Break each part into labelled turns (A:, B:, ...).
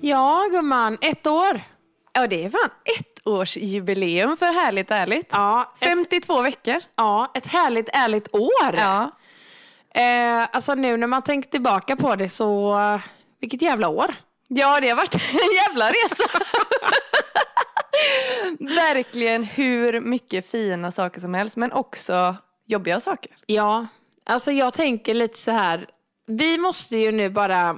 A: Ja, gumman. Ett år.
B: Ja, det är fan ett års jubileum för Härligt Ärligt.
A: Ja, ett,
B: 52 veckor.
A: ja, ett härligt, ärligt år.
B: Ja.
A: Eh, alltså nu när man tänker tillbaka på det så... Vilket jävla år.
B: ja, det har varit en jävla resa. Verkligen hur mycket fina saker som helst, men också jobbiga saker.
A: Ja, alltså jag tänker lite så här. Vi måste ju nu bara...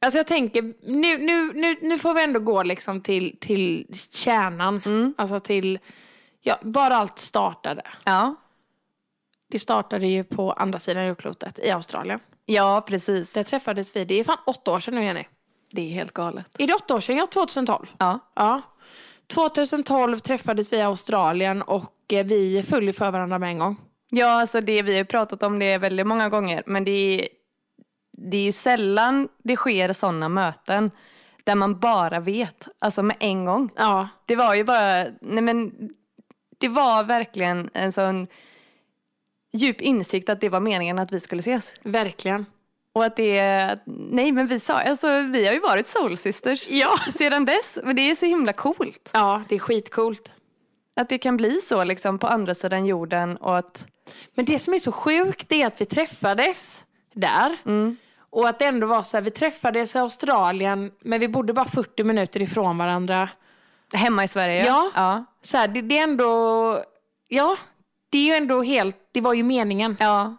A: Alltså jag tänker, nu, nu, nu, nu får vi ändå gå liksom till, till kärnan.
B: Mm.
A: Alltså till ja, var allt startade.
B: Ja,
A: Det startade ju på andra sidan jordklotet, i Australien.
B: ja precis.
A: Där träffades vi, det är fan åtta år sedan nu Jenny.
B: Det är helt galet.
A: Är det åtta år sedan? Ja, 2012.
B: Ja.
A: Ja. 2012 träffades vi i Australien och eh, vi föll ju för varandra med en gång.
B: Ja, alltså det vi har ju pratat om det väldigt många gånger, men det är, det är ju sällan det sker sådana möten där man bara vet, alltså med en gång.
A: Ja,
B: Det var ju bara, nej men det var verkligen en sån djup insikt att det var meningen att vi skulle ses.
A: verkligen.
B: Och att det, nej men vi sa, alltså vi har ju varit soulsisters
A: Ja.
B: sedan dess, men det är så himla coolt.
A: Ja, det är skitcoolt.
B: Att det kan bli så liksom på andra sidan jorden och att,
A: Men det som är så sjukt är att vi träffades där. Och att det ändå var så här, vi träffades i Australien men vi bodde bara 40 minuter ifrån varandra.
B: hemma i Sverige.
A: Ja.
B: ja.
A: Så här, det, det är ändå, ja, det är ju ändå helt, det var ju meningen
B: Ja,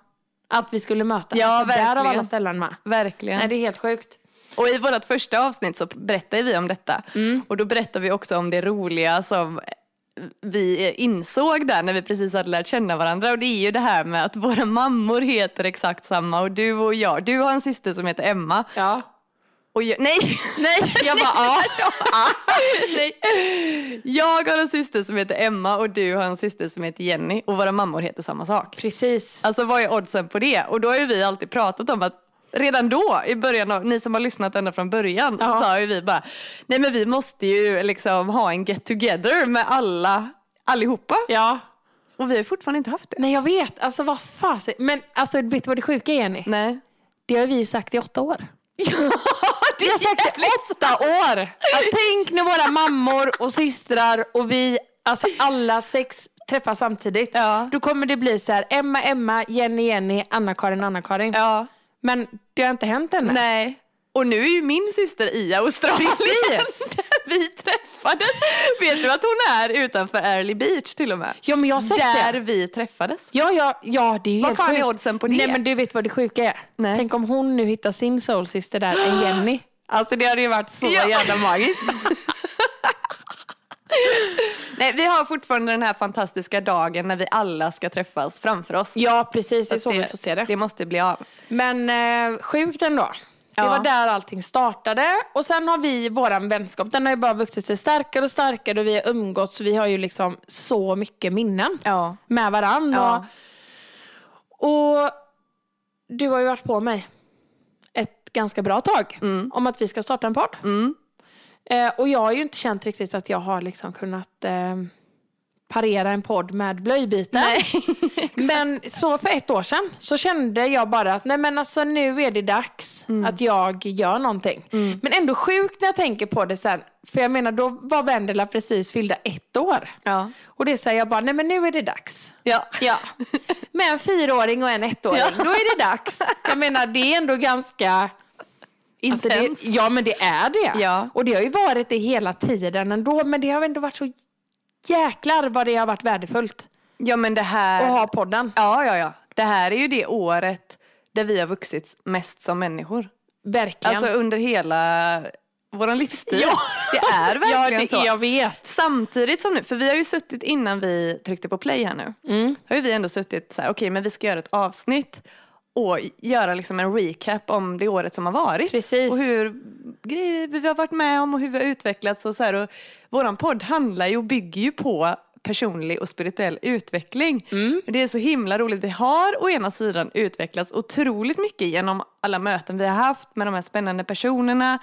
A: att vi skulle mötas.
B: Ja,
A: där av
B: verkligen.
A: alla ställen med.
B: verkligen.
A: Nej, det är helt sjukt.
B: Och i vårt första avsnitt så berättade vi om detta.
A: Mm.
B: Och då berättade vi också om det roliga som vi insåg där när vi precis hade lärt känna varandra. Och det är ju det här med att våra mammor heter exakt samma och du och jag. Du har en syster som heter Emma.
A: Ja.
B: Och jag, nej! Nej,
A: Jag bara, ah, ja.
B: nej. Jag har en syster som heter Emma och du har en syster som heter Jenny. Och våra mammor heter samma sak.
A: Precis.
B: Alltså vad är oddsen på det? Och då har ju vi alltid pratat om att redan då, i början av, ni som har lyssnat ända från början,
A: Ja.
B: så sa ju vi bara, nej men vi måste ju liksom ha en get together med alla, allihopa.
A: Ja.
B: Och vi har ju fortfarande inte haft det.
A: Nej, jag vet. Alltså vad fasen. Men alltså, vet du vad det sjuka är, Jenny?
B: Nej.
A: Det har vi ju sagt i åtta år.
B: Ja, det
A: Vi har
B: är
A: sagt i åtta år. Ja, Tänk när våra mammor och systrar och vi, alltså alla sex träffas samtidigt.
B: Ja.
A: Då kommer det bli så här, Emma, Emma, Jenny, Jenny, Anna-Karin, Anna-Karin.
B: Ja,
A: Men det har inte hänt ännu.
B: nej. Och nu är ju min syster i Australien.
A: Precis.
B: där Vi träffades. Vet du att hon är utanför Early Beach till och med?
A: Ja, men jag har sett
B: Där
A: det.
B: vi träffades.
A: Ja, ja, ja, det är ju
B: Vad
A: helt
B: fan är
A: sjukt.
B: oddsen på det?
A: Nej, men du vet vad det sjuka är?
B: Nej.
A: Tänk om hon nu hittar sin soulsister där, en Jenny. Alltså det hade ju varit så
B: Ja.
A: jävla magiskt.
B: Nej, vi har fortfarande den här fantastiska dagen när vi alla ska träffas framför oss.
A: Ja, precis. Det är så vi får se det.
B: Det måste bli av.
A: Men eh, sjukt ändå. Det
B: Ja.
A: var där allting startade. Och sen har vi våran vänskap, den har ju bara vuxit sig starkare och starkare och vi har umgåtts. Vi har ju liksom så mycket minnen
B: Ja.
A: med varann.
B: Ja.
A: Och, och du har ju varit på mig ett ganska bra tag om att vi ska starta en podd. Eh, och jag har ju inte känt riktigt att jag har liksom kunnat eh, parera en podd med blöjbyten. Men så för ett år sedan så kände jag bara att nej men alltså nu är det dags
B: Mm.
A: att jag gör någonting. Men ändå sjukt när jag tänker på det sen. För jag menar då var Vendela precis fyllda ett år.
B: Ja.
A: Och det säger jag bara, nej men nu är det dags.
B: Ja.
A: Ja. Med en fyraåring och en ettåring,
B: Ja.
A: då är det dags. Jag menar det är ändå ganska... Alltså det,
B: Intens.
A: ja men det är det.
B: Ja.
A: Och det har ju varit det hela tiden ändå. Men det har ändå varit så jäklar vad det har varit värdefullt
B: ja, men det
A: att
B: här...
A: ha podden.
B: Ja, ja, ja. Det här är ju det året där vi har vuxit mest som människor.
A: Verkligen.
B: Alltså under hela vår livstid.
A: Ja.
B: Det är verkligen
A: Alltså, ja, det,
B: så.
A: Jag vet.
B: Samtidigt som nu, för vi har ju suttit innan vi tryckte på play här nu. Har ju vi ändå suttit så här, okej men vi ska göra ett avsnitt och göra liksom en recap om det året som har varit.
A: Precis.
B: Och hur grejer vi har varit med om och hur vi har utvecklats och så här. Och våran podd handlar ju och bygger ju på personlig och spirituell utveckling. Det är så himla roligt. Vi har å ena sidan utvecklats otroligt mycket genom alla möten vi har haft med de här spännande personerna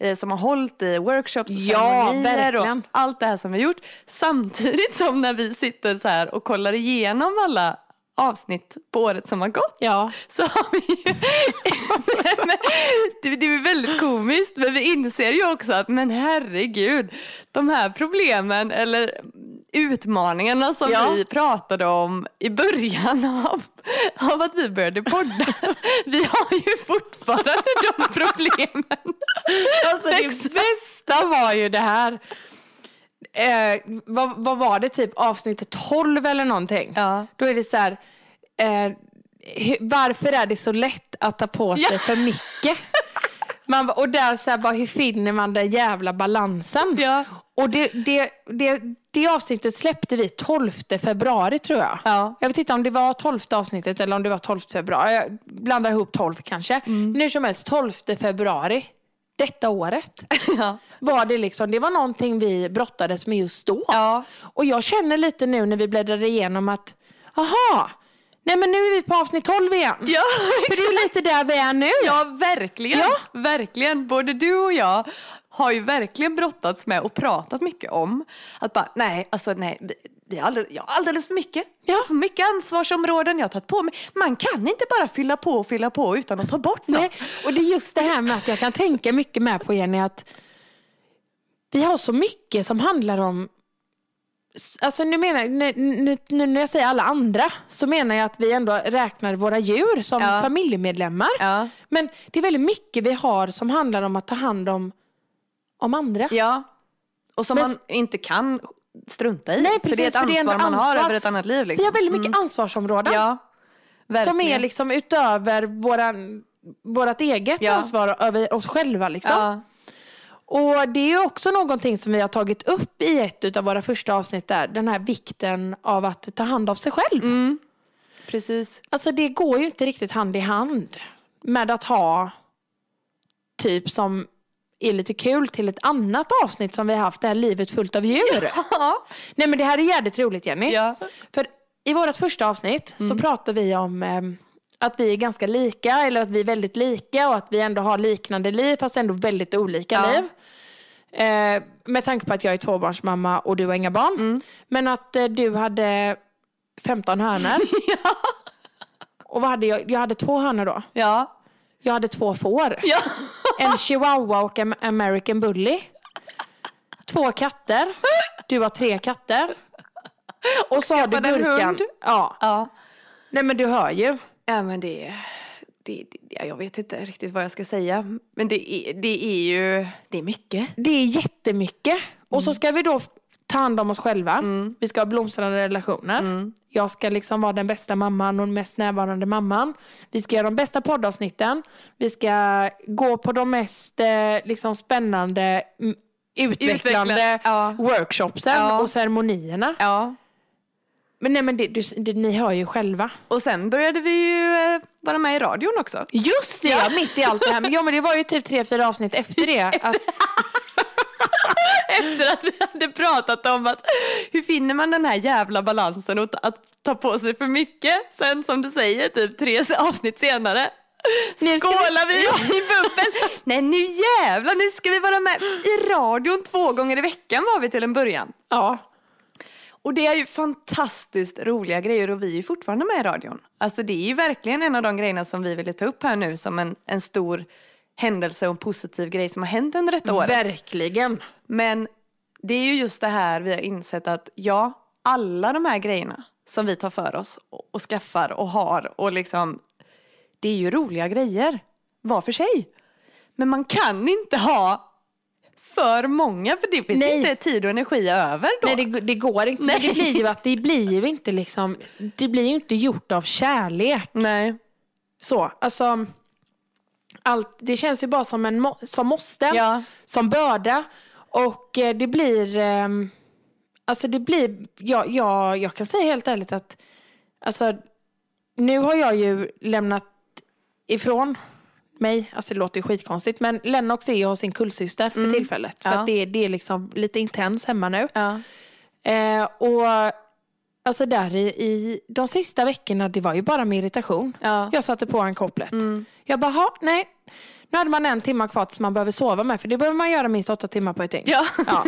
B: eh, som har hållit i workshops och
A: Ja,
B: ceremonier och
A: verkligen.
B: allt det här som vi har gjort. Samtidigt som när vi sitter så här och kollar igenom alla avsnitt på året som har gått
A: Ja.
B: så har vi ju... men, det, det är väldigt komiskt men vi inser ju också att men herregud, de här problemen eller utmaningarna som
A: Ja.
B: vi pratade om i början av, av att vi började podda, vi har ju fortfarande de problemen.
A: Alltså, det bästa var ju det här. Eh, vad, vad var det, typ avsnitt 12 eller någonting?
B: Ja.
A: Då är det så här, eh, hu- varför är det så lätt att ta på sig
B: Ja.
A: för mycket? Man, bara- och där så här, bara, hur finner man den jävla balansen?
B: Ja.
A: Och det, det, det, det avsnittet släppte vi 12 februari tror jag.
B: Ja.
A: Jag vet inte om det var 12 avsnittet eller om det var 12 februari. Jag blandar ihop 12 kanske.
B: Mm.
A: Men hur som helst, 12 februari detta året
B: Ja.
A: var det liksom, det var någonting vi brottades med just då.
B: Ja.
A: Och jag känner lite nu när vi bläddrar igenom att, aha, nej men nu är vi på avsnitt 12 igen.
B: Ja,
A: För det är lite där vi är nu.
B: Ja, verkligen. verkligen. Både du och jag har ju verkligen brottats med och pratat mycket om att bara, nej, alltså nej, vi- vi har alldeles, jag har alldeles för mycket. Jag har för mycket ansvarsområden jag har tagit på mig. Man kan inte bara fylla på och fylla på utan att ta bort något.
A: Nej, och det är just det här med att jag kan tänka mycket med på Jenny att vi har så mycket som handlar om Alltså nu menar nu, nu, nu när jag säger alla andra så menar jag att vi ändå räknar våra djur som
B: Ja.
A: familjemedlemmar.
B: Ja.
A: Men det är väldigt mycket vi har som handlar om att ta hand om, om andra.
B: Ja. Och som
A: Men-
B: man inte kan strunta i.
A: Nej,
B: för det är ett
A: precis, för
B: ansvar
A: det är en
B: man har
A: ansvar.
B: över ett annat liv. Liksom.
A: Vi har väldigt mycket ansvarsområden
B: Ja,
A: som
B: verkligen.
A: är liksom utöver våran, vårat eget
B: Ja.
A: ansvar över oss själva. Liksom.
B: ja.
A: Och det är ju också någonting som vi har tagit upp i ett av våra första avsnitt där. Den här vikten av att ta hand om sig själv.
B: Precis.
A: Alltså det går ju inte riktigt hand i hand med att ha typ som är lite kul till ett annat avsnitt som vi har haft, det här livet fullt av djur. Nej men det här är jävligt roligt Jenny.
B: Ja.
A: För i vårt första avsnitt så pratar vi om ehm, att vi är ganska lika eller att vi är väldigt lika och att vi ändå har liknande liv fast ändå väldigt olika
B: Ja.
A: liv. Eh, med tanke på att jag är tvåbarnsmamma och du har inga barn. Men att eh, du hade 15 hönor. Och vad hade jag? Jag hade två hönor då.
B: Ja.
A: Jag hade två får.
B: Ja.
A: En chihuahua och en American bully. Två katter. Du har tre katter. Och så har du
B: skaffade en
A: gurkan.
B: hund.
A: Ja.
B: ja.
A: Nej men du hör ju.
B: Ja, men det är... Det, det, ja, jag vet inte riktigt vad jag ska säga. Men det är, det är ju... Det är mycket.
A: Det är jättemycket. Och
B: Mm.
A: så ska vi då ta hand om oss själva. Vi ska ha blomstrande relationer.
B: Mm.
A: Jag ska liksom vara den bästa mamman och den mest närvarande mamman. Vi ska göra de bästa poddavsnitten. Vi ska gå på de mest eh, liksom, spännande, mm, utvecklande
B: Utvecklande, ja.
A: workshopsen
B: Ja.
A: och ceremonierna.
B: Ja.
A: Men nej men det, du, det, ni hör ju själva.
B: Och sen började vi ju eh, vara med i radion också.
A: Just det, ja. mitt i allt det här. Men, ja, men det var ju typ tre, fyra avsnitt efter det. Att,
B: Efter att vi hade pratat om att hur finner man den här jävla balansen och ta- att ta på sig för mycket. Sen som du säger, typ tre avsnitt senare.
A: Nu ska vi-
B: skålar vi i bubbel. Nej nu jävlar, nu ska vi vara med i radion två gånger i veckan var vi till en början.
A: ja.
B: Och det är ju fantastiskt roliga grejer och vi är ju fortfarande med i radion. Alltså det är ju verkligen en av de grejerna som vi ville ta upp här nu som en, en stor händelse och en positiv grej som har hänt under detta
A: Mm.
B: året.
A: Verkligen.
B: Men det är ju just det här vi har insett att ja, alla de här grejerna som vi tar för oss och, och skaffar och har och liksom, det är ju roliga grejer var för sig. Men man kan inte ha för många för det finns
A: Nej.
B: inte tid och energi över då.
A: Nej, det, det går inte. Men Det blir ju att det blir ju inte liksom, det blir ju inte gjort av kärlek.
B: Nej.
A: Så, alltså, allt, det känns ju bara som en må, som måste,
B: Ja.
A: som börda. Och eh, det blir, ehm, alltså det blir, jag, jag, jag kan säga helt ärligt att, alltså, nu har jag ju lämnat ifrån mig, alltså det låter ju skitkonstigt, men Lennox är ju hos sin kullsyster för tillfället. Så
B: Mm. Ja.
A: att det, det är liksom lite intens hemma nu.
B: Ja.
A: Eh, och alltså där i, i de sista veckorna, det var ju bara med irritation.
B: Ja. Mm.
A: Jag satte på han kopplet. Jag bara, "Ha, nej, Nu hade man en timme kvar tills man behöver sova med, för det behöver man göra minst åtta timmar på ett dygn.
B: Ja. Mm.
A: Ja.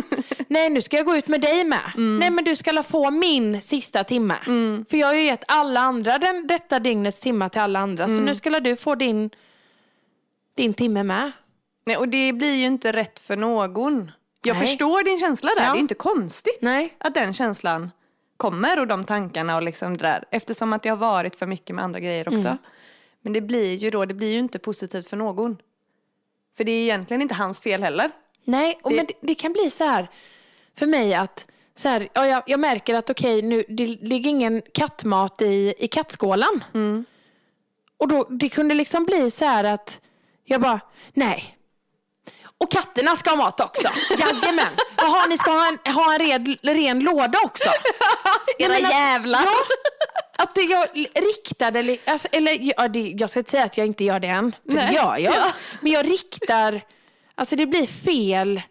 A: Nej, nu ska jag gå ut med dig med. Nej, men du ska la få min sista timme. För jag har ju gett alla andra den, detta dygnets timmar till alla andra,
B: Mm.
A: så nu ska la du få din, din timme med.
B: Nej, och det blir ju inte rätt för någon. Jag
A: Nej.
B: förstår din känsla där.
A: Ja.
B: Det är inte konstigt
A: Nej.
B: att den känslan kommer och de tankarna och liksom det där. Eftersom att det har varit för mycket med andra grejer också.
A: Mm.
B: Men det blir ju då, det blir ju inte positivt för någon. För det är egentligen inte hans fel heller.
A: Nej, och
B: Det-
A: Men det, det kan bli så här för mig att så här, ja, jag, jag märker att okej, nu, det ligger ingen kattmat i, i kattskålan. Och då, det kunde liksom bli så här att jag bara, nej. Och katterna ska ha mat också. Jajamän. Jaha, ni ska ha en, ha en red, ren låda också. Jag menar-
B: jävlar!
A: Ja, att det jag riktade, li- alltså, eller ja, det, jag ska inte säga att jag inte gör det än, för det
B: Nej.
A: gör jag. Men jag riktar, alltså det blir fel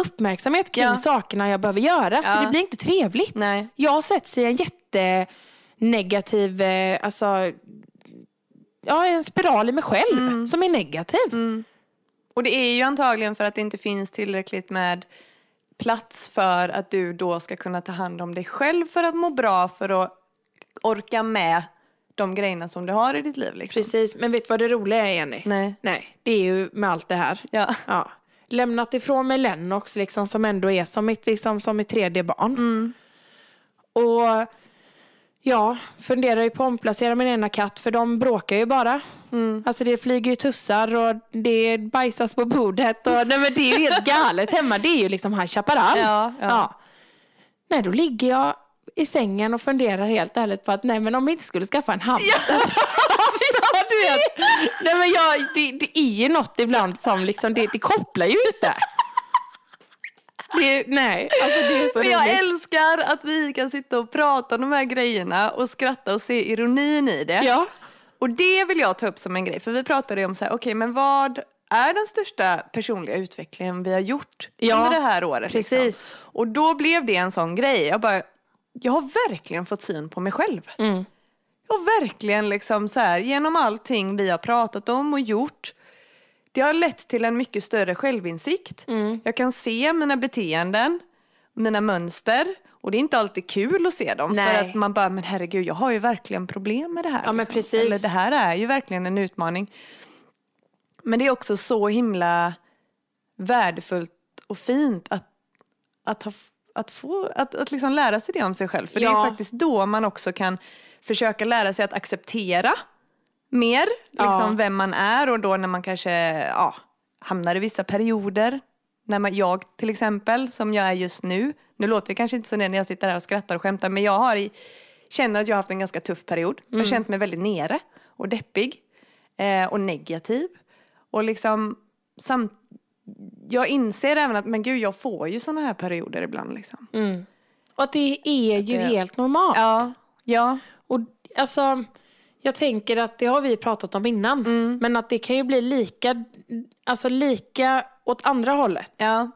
A: uppmärksamhet kring
B: Ja.
A: sakerna jag behöver göra. Så
B: Ja.
A: det blir inte trevligt.
B: Nej.
A: Jag sätts i en jättenegativ, eh, alltså, ja en spiral i mig själv
B: Mm.
A: som är negativ.
B: Och det är ju antagligen för att det inte finns tillräckligt med plats för att du då ska kunna ta hand om dig själv för att må bra för att orka med de grejerna som du har i ditt liv. Liksom.
A: Precis, men vet du vad det roliga är Jenny?
B: Nej.
A: Nej, det är ju med allt det här.
B: Ja.
A: Ja. Lämnat ifrån mig Lennox liksom, som ändå är som mitt, liksom, som mitt tredje barn.
B: Mm.
A: Och ja, funderar ju på att omplacera min ena katt för de bråkar ju bara.
B: Mm.
A: Alltså det flyger ju tussar och det bajsas på bordet. Och, nej, men det är ju helt galet hemma. Det är ju liksom High Chaparral.
B: Ja, ja.
A: Nej, då ligger jag i sängen och funderar helt ärligt på att nej men om vi inte skulle skaffa en hamster. alltså, du vet. Nej men jag, det, det är ju något ibland som liksom, det, det kopplar ju inte. Det, nej, alltså det är så
B: Men jag
A: roligt.
B: älskar att vi kan sitta och prata om de här grejerna och skratta och se ironin i det.
A: Ja.
B: Och det vill jag ta upp som en grej, för vi pratade ju om så här, okej men vad är den största personliga utvecklingen vi har gjort
A: Ja,
B: under det här året?
A: precis.
B: Liksom? Och då blev det en sån grej, jag bara, jag har verkligen fått syn på mig själv.
A: Mm.
B: Jag har verkligen liksom så här, genom allting vi har pratat om och gjort, det har lett till en mycket större självinsikt.
A: Mm.
B: Jag kan se mina beteenden, mina mönster. Och det är inte alltid kul att se dem.
A: Nej.
B: För att man bara, men herregud, jag har ju verkligen problem med det här.
A: Ja, men precis.
B: liksom. Eller det här är ju verkligen en utmaning. Men det är också så himla värdefullt och fint att, att, ha, att, få, att, att liksom lära sig det om sig själv. För det är
A: Ja.
B: ju faktiskt då man också kan försöka lära sig att acceptera mer liksom,
A: Ja.
B: vem man är och då när man kanske ja, hamnar i vissa perioder. När man, jag till exempel, som jag är just nu. Nu låter det kanske inte som det när jag sitter här och skrattar och skämtar men jag har i, känner att jag har haft en ganska tuff period. Jag har känt mig väldigt nere och deppig eh, och negativ. Och liksom, samt, jag inser även att men gud, jag får ju såna här perioder ibland. Liksom.
A: Och att det är ju
B: det-
A: helt normalt.
B: Ja, ja,
A: Och alltså, jag tänker att det har vi pratat om innan. Men att det kan ju bli lika, alltså lika åt andra hållet.
B: ja.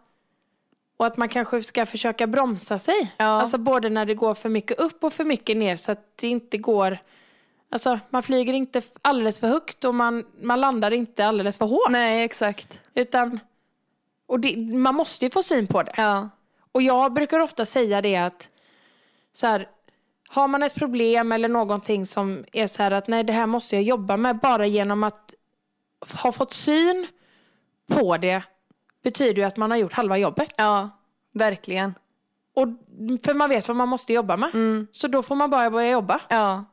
A: Och att man kanske ska försöka bromsa sig.
B: Ja.
A: Alltså både när det går för mycket upp och för mycket ner så att det inte går... Alltså man flyger inte f- alldeles för högt och man, man landar inte alldeles för hårt.
B: Nej, exakt.
A: Utan, och det, man måste ju få syn på det.
B: Ja,
A: Och jag brukar ofta säga det att så här, har man ett problem eller någonting som är så här att nej det här måste jag jobba med bara genom att f- ha fått syn på det betyder ju att man har gjort halva jobbet.
B: ja verkligen.
A: Och, för man vet vad man måste jobba med.
B: Mm.
A: Så då får man bara börja jobba
B: Ja,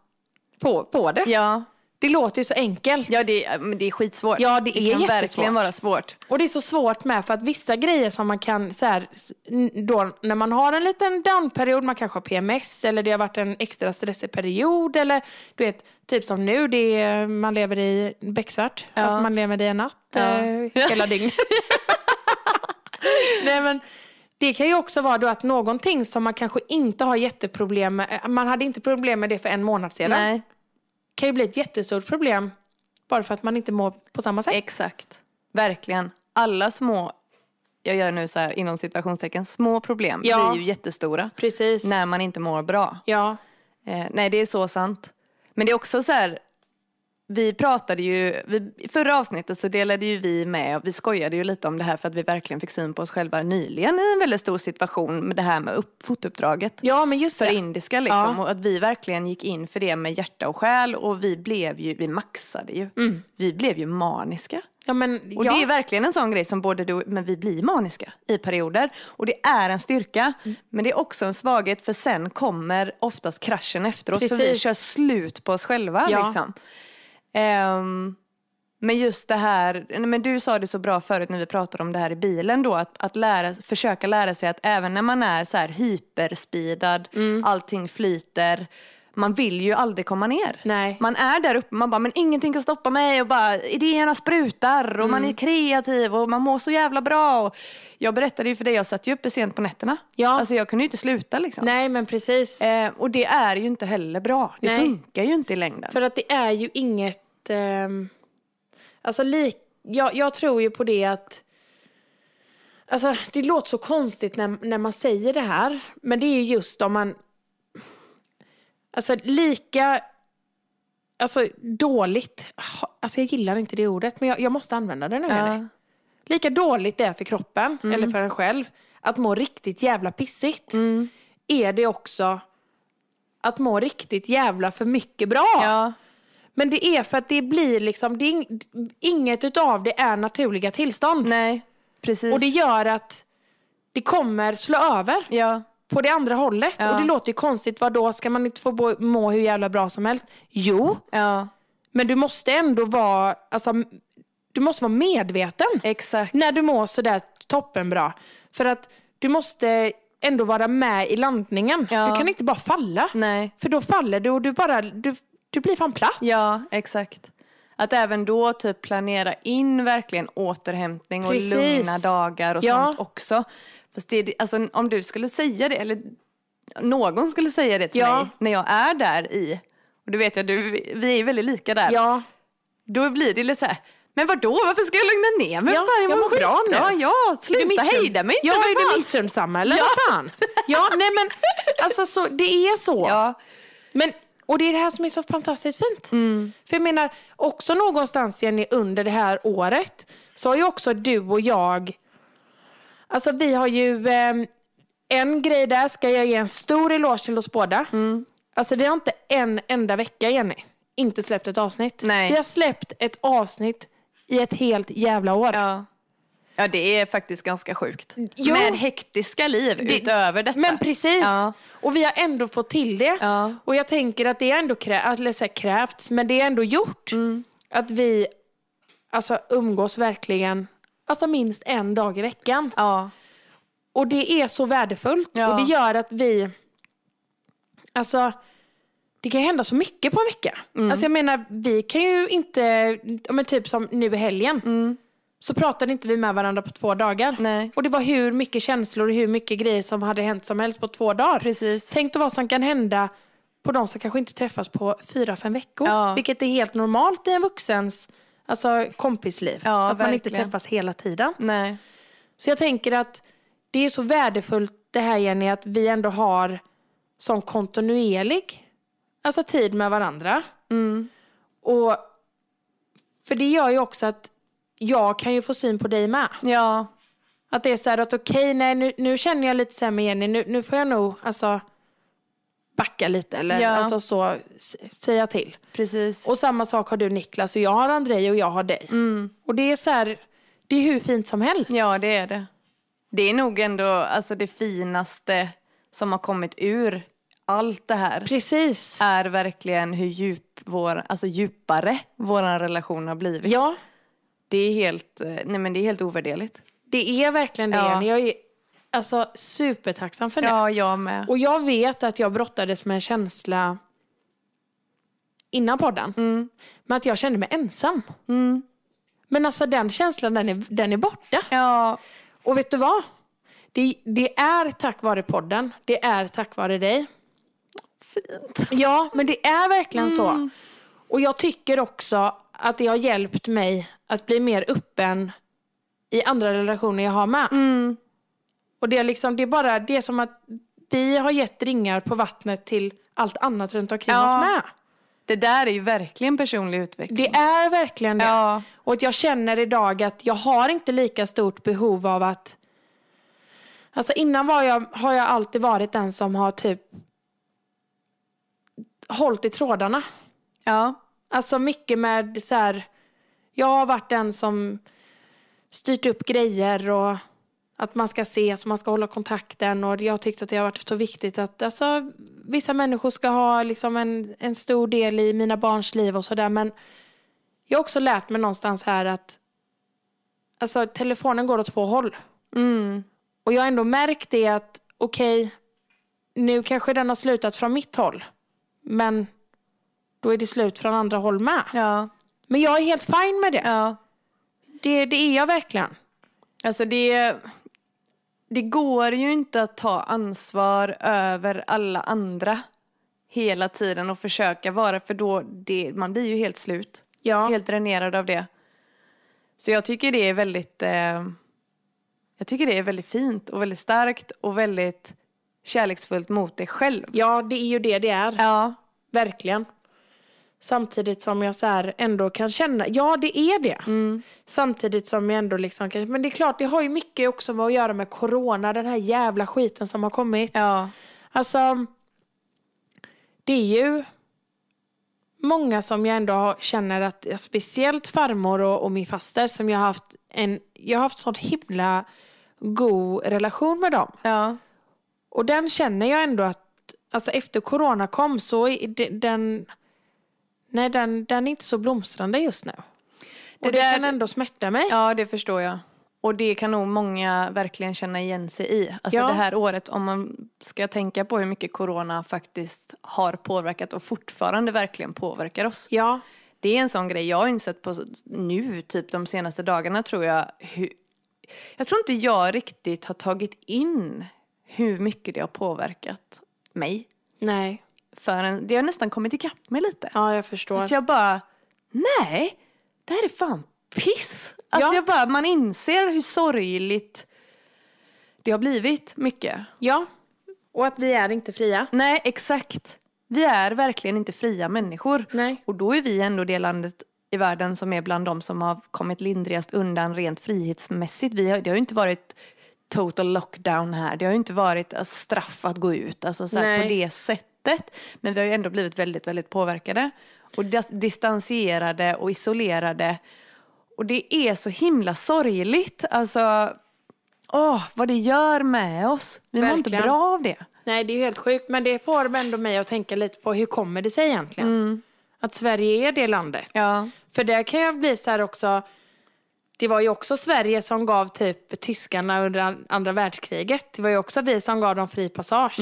A: på, på det.
B: ja.
A: Det låter ju så enkelt.
B: Ja, det, är- men det är skitsvårt.
A: Ja, det är
B: kan
A: jättesvårt.
B: verkligen vara svårt.
A: Och det är så svårt med för att vissa grejer som man kan så här, s- n- då, när man har en liten downperiod, man kanske har PMS eller det har varit en extra stressig period eller du vet, typ som nu, det är, man lever i becksvart, alltså man lever i en natt
B: Ja.
A: eh, hela dygnet. Nej men det kan ju också vara då att någonting som man kanske inte har jätteproblem med, eh, man hade inte problem med det för en månad sedan,
B: Nej,
A: kan ju bli ett jättestort problem bara för att man inte mår på samma sätt.
B: exakt. Verkligen. Alla små, jag gör nu så här inom situationstecken, små problem
A: Ja.
B: blir ju jättestora
A: Precis.
B: när man inte mår bra.
A: Ja.
B: Eh, nej, det är så sant. Men det är också så här, vi pratade ju, vi, i förra avsnittet så delade ju vi med, vi skojade ju lite om det här för att vi verkligen fick syn på oss själva nyligen i en väldigt stor situation med det här med upp, fotouppdraget.
A: Ja, men just
B: För
A: det.
B: indiska liksom.
A: Ja.
B: Och att vi verkligen gick in för det med hjärta och själ och vi blev ju, vi maxade ju.
A: Mm.
B: Vi blev ju maniska.
A: Ja, men,
B: Och
A: ja.
B: det är verkligen en sån grej som både du men vi blir maniska i perioder. Och det är en styrka,
A: Mm.
B: men det är också en svaghet för sen kommer oftast kraschen efter oss. För vi
A: Precis.
B: kör slut på oss själva.
A: Ja.
B: Liksom. Ehm, men just det här, nej, men du sa det så bra förut när vi pratade om det här i bilen då, att, att lära, försöka lära sig att även när man är så här hyperspeedad,
A: Mm.
B: allting flyter, man vill ju aldrig komma ner.
A: Nej.
B: Man är där uppe, man bara, men ingenting kan stoppa mig och bara idéerna sprutar och
A: Mm.
B: man är kreativ och man mår så jävla bra. Och jag berättade ju för dig, jag satt ju uppe sent på nätterna.
A: Ja.
B: Alltså jag kunde ju inte sluta liksom.
A: Nej, men precis.
B: Eh, och det är ju inte heller bra. Det
A: Nej.
B: funkar ju inte i längden.
A: För att det är ju inget... ehm, alltså, lik, jag, jag tror ju på det att... Alltså, det låter så konstigt när, när man säger det här, men det är ju just om man... Alltså, lika... Alltså, dåligt. Ha- Alltså, jag gillar inte det ordet, men jag, jag måste använda det nu, Jenny.
B: ja.
A: Lika dåligt det är för kroppen,
B: Mm.
A: eller för en själv, att må riktigt jävla pissigt,
B: Mm.
A: är det också att må riktigt jävla för mycket bra.
B: Ja.
A: Men det är för att det blir liksom, det är ing, inget utav det är naturliga tillstånd.
B: Nej, precis.
A: Och det gör att det kommer slå över
B: ja.
A: på det andra hållet.
B: Ja.
A: Och det låter ju konstigt, vad då ska man inte få bo, må hur jävla bra som helst? Jo,
B: ja,
A: men du måste ändå vara, alltså, du måste vara medveten
B: exakt.
A: när du mår sådär toppenbra. För att du måste ändå vara med i landningen.
B: Ja.
A: Du kan inte bara falla.
B: Nej.
A: För då faller du och du bara, du, du blir fan platt.
B: Ja, exakt. Att även då typ planera in verkligen återhämning och
A: Precis.
B: lugna dagar och
A: Ja.
B: sånt också. Fast det, alltså, om du skulle säga det, eller någon skulle säga det till
A: Ja.
B: mig när jag är där i, och du vet jag, du, vi är väldigt lika där,
A: ja.
B: då blir det lite så här, men vadå, varför ska jag lugna ner mig?
A: Ja,
B: Fan,
A: jag
B: mår
A: mår bra
B: skitbra.
A: nu.
B: Ja,
A: Du
B: sluta
A: missun-
B: hejda mig inte.
A: Ja,
B: vad
A: är du
B: fan?
A: missunnsam eller? Ja. fan? Ja, nej men alltså så, det är så.
B: ja,
A: Men, och det är det här som är så fantastiskt fint. För jag menar, också någonstans Jenny, under det här året så har ju också du och jag, alltså vi har ju eh, en grej där ska jag ge en stor eloge till oss båda. Alltså vi har inte en enda vecka Jenny, inte släppt ett avsnitt.
B: Nej.
A: Vi har släppt ett avsnitt i ett helt jävla år.
B: ja. Ja, det är faktiskt ganska sjukt.
A: Jo.
B: Med hektiska liv utöver detta.
A: Men precis.
B: Ja.
A: Och vi har ändå fått till det.
B: Ja.
A: Och jag tänker att det är ändå krä- eller så här, krävts, men det är ändå gjort.
B: Mm.
A: Att vi alltså, umgås verkligen alltså minst en dag i veckan.
B: Ja.
A: Och det är så värdefullt.
B: Ja.
A: Och det gör att vi... Alltså, det kan hända så mycket på en vecka.
B: Mm.
A: Alltså jag menar, vi kan ju inte... ja, Men typ som nu i helgen. Så pratade inte vi med varandra på två dagar.
B: Mm. Nej.
A: Och det var hur mycket känslor och hur mycket grejer som hade hänt som helst på två dagar.
B: Precis.
A: Tänk dig vad som kan hända på de som kanske inte träffas på fyra, fem veckor.
B: Ja.
A: Vilket är helt normalt i en vuxens alltså, kompisliv.
B: Ja,
A: att man inte
B: verkligen.
A: träffas hela tiden.
B: Nej.
A: Så jag tänker att det är så värdefullt det här Jenny, att vi ändå har sån kontinuerlig alltså tid med varandra.
B: Mm.
A: Och För det gör ju också att jag kan ju få syn på dig med.
B: Ja.
A: Att det är så här att okej, nej nu, nu känner jag lite så här med Jenny, nu, nu får jag nog alltså backa lite eller
B: Ja.
A: alltså så s- säga till.
B: Precis.
A: Och samma sak har du Niklas och jag har Andrej och jag har dig. Och det är så här, det är hur fint som helst.
B: Mm. ja, det är det. Det är nog ändå alltså, det finaste som har kommit ur allt det här.
A: Precis.
B: är verkligen hur djup vår, alltså djupare vår relation har blivit.
A: Ja,
B: Det, är helt, eh, nej, men det är helt ovärderligt.
A: det är verkligen det
B: Ja.
A: Jenny. Jag är alltså supertacksam för det.
B: Ja, jag med.
A: Och jag vet att jag brottades med en känsla innan podden.
B: Mm.
A: Men att jag kände mig ensam. Men alltså den känslan den är, den är borta.
B: Ja,
A: Och vet du vad? Det, det är tack vare podden. Det är tack vare dig.
B: fint. Mm.
A: Ja, men det är verkligen så. Och jag tycker också att det har hjälpt mig att bli mer öppen i andra relationer jag har med.
B: Mm.
A: Och det är, liksom, det är bara det är som att vi har gett ringar på vattnet till allt annat runt omkring
B: Ja.
A: oss med.
B: Det där är ju verkligen personlig utveckling.
A: Det är verkligen det.
B: Ja.
A: Och att jag känner idag att jag har inte lika stort behov av att... Alltså innan var jag, har jag alltid varit den som har typ hållit i trådarna.
B: Ja.
A: Alltså mycket med så här, jag har varit den som styrt upp grejer och att man ska ses och man ska hålla kontakten och jag tyckte att det har varit så viktigt att alltså, vissa människor ska ha liksom en, en stor del i mina barns liv och sådär men jag har också lärt mig någonstans här att alltså, telefonen går åt två håll.
B: Mm.
A: Och jag har ändå märkt det att okej, nu kanske den har slutat från mitt håll men då är det slut från andra håll med.
B: Ja.
A: Men jag är helt fine med det.
B: ja.
A: Det, det är jag verkligen.
B: Alltså det, det går ju inte att ta ansvar över alla andra hela tiden och försöka vara för då det, man blir ju helt slut.
A: Ja.
B: Helt dränerad av det. Så jag tycker det är väldigt eh, jag tycker det är väldigt fint och väldigt starkt och väldigt kärleksfullt mot dig själv.
A: ja, det är ju det det är.
B: Ja,
A: Verkligen. Samtidigt som jag så här ändå kan känna, ja det är det. Samtidigt som jag ändå liksom kan, men det är klart det har ju mycket också med att göra med corona, den här jävla skiten som har kommit.
B: ja,
A: Alltså, det är ju många som jag ändå har- känner att, speciellt farmor och, och min faster som jag har haft en, jag har haft sån himla god relation med dem.
B: ja,
A: Och den känner jag ändå att, alltså efter corona kom så är de- den, nej den, den är inte så blomstrande just nu.
B: Det
A: Och det
B: där-
A: kan ändå smärta mig.
B: ja, det förstår jag. Och det kan nog många verkligen känna igen sig i. Alltså
A: Ja.
B: det här året, om man ska tänka på hur mycket corona faktiskt har påverkat och fortfarande verkligen påverkar oss.
A: Ja,
B: Det är en sån grej jag har insett på nu, typ de senaste dagarna tror jag. Hur, jag tror inte jag riktigt har tagit in hur mycket det har påverkat mig.
A: nej,
B: Förrän, det har nästan kommit ikapp mig lite.
A: ja jag förstår.
B: Att jag bara, nej, det här är fan piss. Att
A: Ja.
B: jag bara, man inser hur sorgligt det har blivit mycket.
A: Ja, och att vi är inte fria.
B: Nej, exakt. Vi är verkligen inte fria människor.
A: Nej.
B: Och då är vi ändå det landet i världen som är bland de som har kommit lindrigast undan rent frihetsmässigt. Vi har, det har ju inte varit total lockdown här. Det har ju inte varit alltså, straff att gå ut alltså, så här,
A: Nej.
B: på det sättet. Men vi har ju ändå blivit väldigt, väldigt påverkade. Och dis- distanserade och isolerade. Och det är så himla sorgligt. Alltså, åh, vad det gör med oss. Vi mår inte
A: Verkligen.
B: bra av det.
A: Nej, det är ju helt sjukt. Men det får ändå mig att tänka lite på hur kommer det sig egentligen? Att Sverige är det landet.
B: Ja.
A: För där kan jag bli så här också. Det var ju också Sverige som gav typ tyskarna under an- andra världskriget. Det var ju också vi som gav dem fri passage.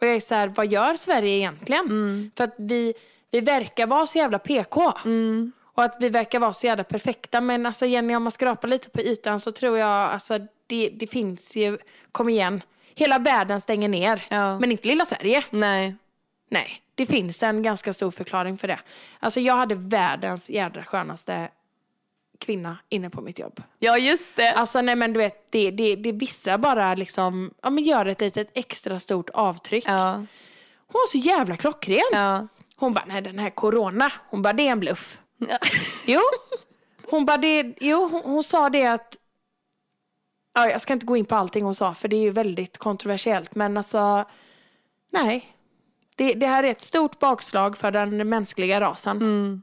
A: Och jag är så här, vad gör Sverige egentligen? För att vi, vi verkar vara så jävla PK. Och att vi verkar vara så jävla perfekta. Men alltså Jenny, om man skrapar lite på ytan så tror jag alltså det, det finns ju, kom igen. Hela världen stänger ner,
B: Ja.
A: men inte lilla Sverige.
B: Nej.
A: Nej, det finns en ganska stor förklaring för det. Alltså jag hade världens jädra skönaste kvinna inne på mitt jobb.
B: Ja, just det.
A: Alltså nej men du vet, det, det, det vissa bara liksom, ja men gör ett litet extra stort avtryck.
B: Ja,
A: Hon var så jävla klockren.
B: ja.
A: Hon bara, nej den här corona, hon bara det är en bluff. Jo, hon bara det, jo hon, hon sa det att, ja jag ska inte gå in på allting hon sa för det är ju väldigt kontroversiellt men alltså, nej. Det, det här är ett stort bakslag för den mänskliga rasen.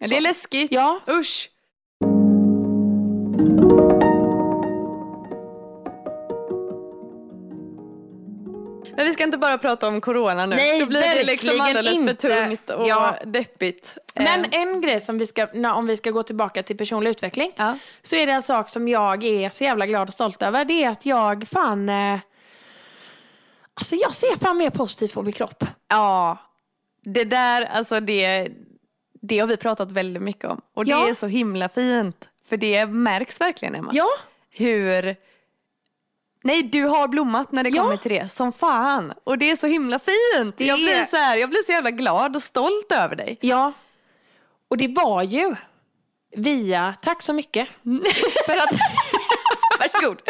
B: Ja, Det är läskigt.
A: Ja.
B: Usch. Men vi ska inte bara prata om corona nu.
A: Nej,
B: Då blir det liksom
A: verkligen
B: alldeles för
A: inte.
B: tungt och
A: Ja.
B: deppigt.
A: Men
B: Eh,
A: en grej som vi ska, na, om vi ska gå tillbaka till personlig utveckling.
B: Ja.
A: Så är det en sak som jag är så jävla glad och stolt över. Det är att jag fan, eh, alltså jag ser fan mer positivt på min kropp.
B: ja, det där, alltså det, det har vi pratat väldigt mycket om. Och det
A: Ja.
B: är så himla fint. För det märks verkligen, Emma.
A: Ja,
B: hur... Nej, du har blommat när det
A: Ja.
B: kommer till det, som fan. Och det är så himla fint.
A: Det
B: jag, blir
A: är-
B: så här, jag blir så jävla glad och stolt över dig.
A: Ja. Och det var ju via, tack så mycket. För att,
B: Varsågod.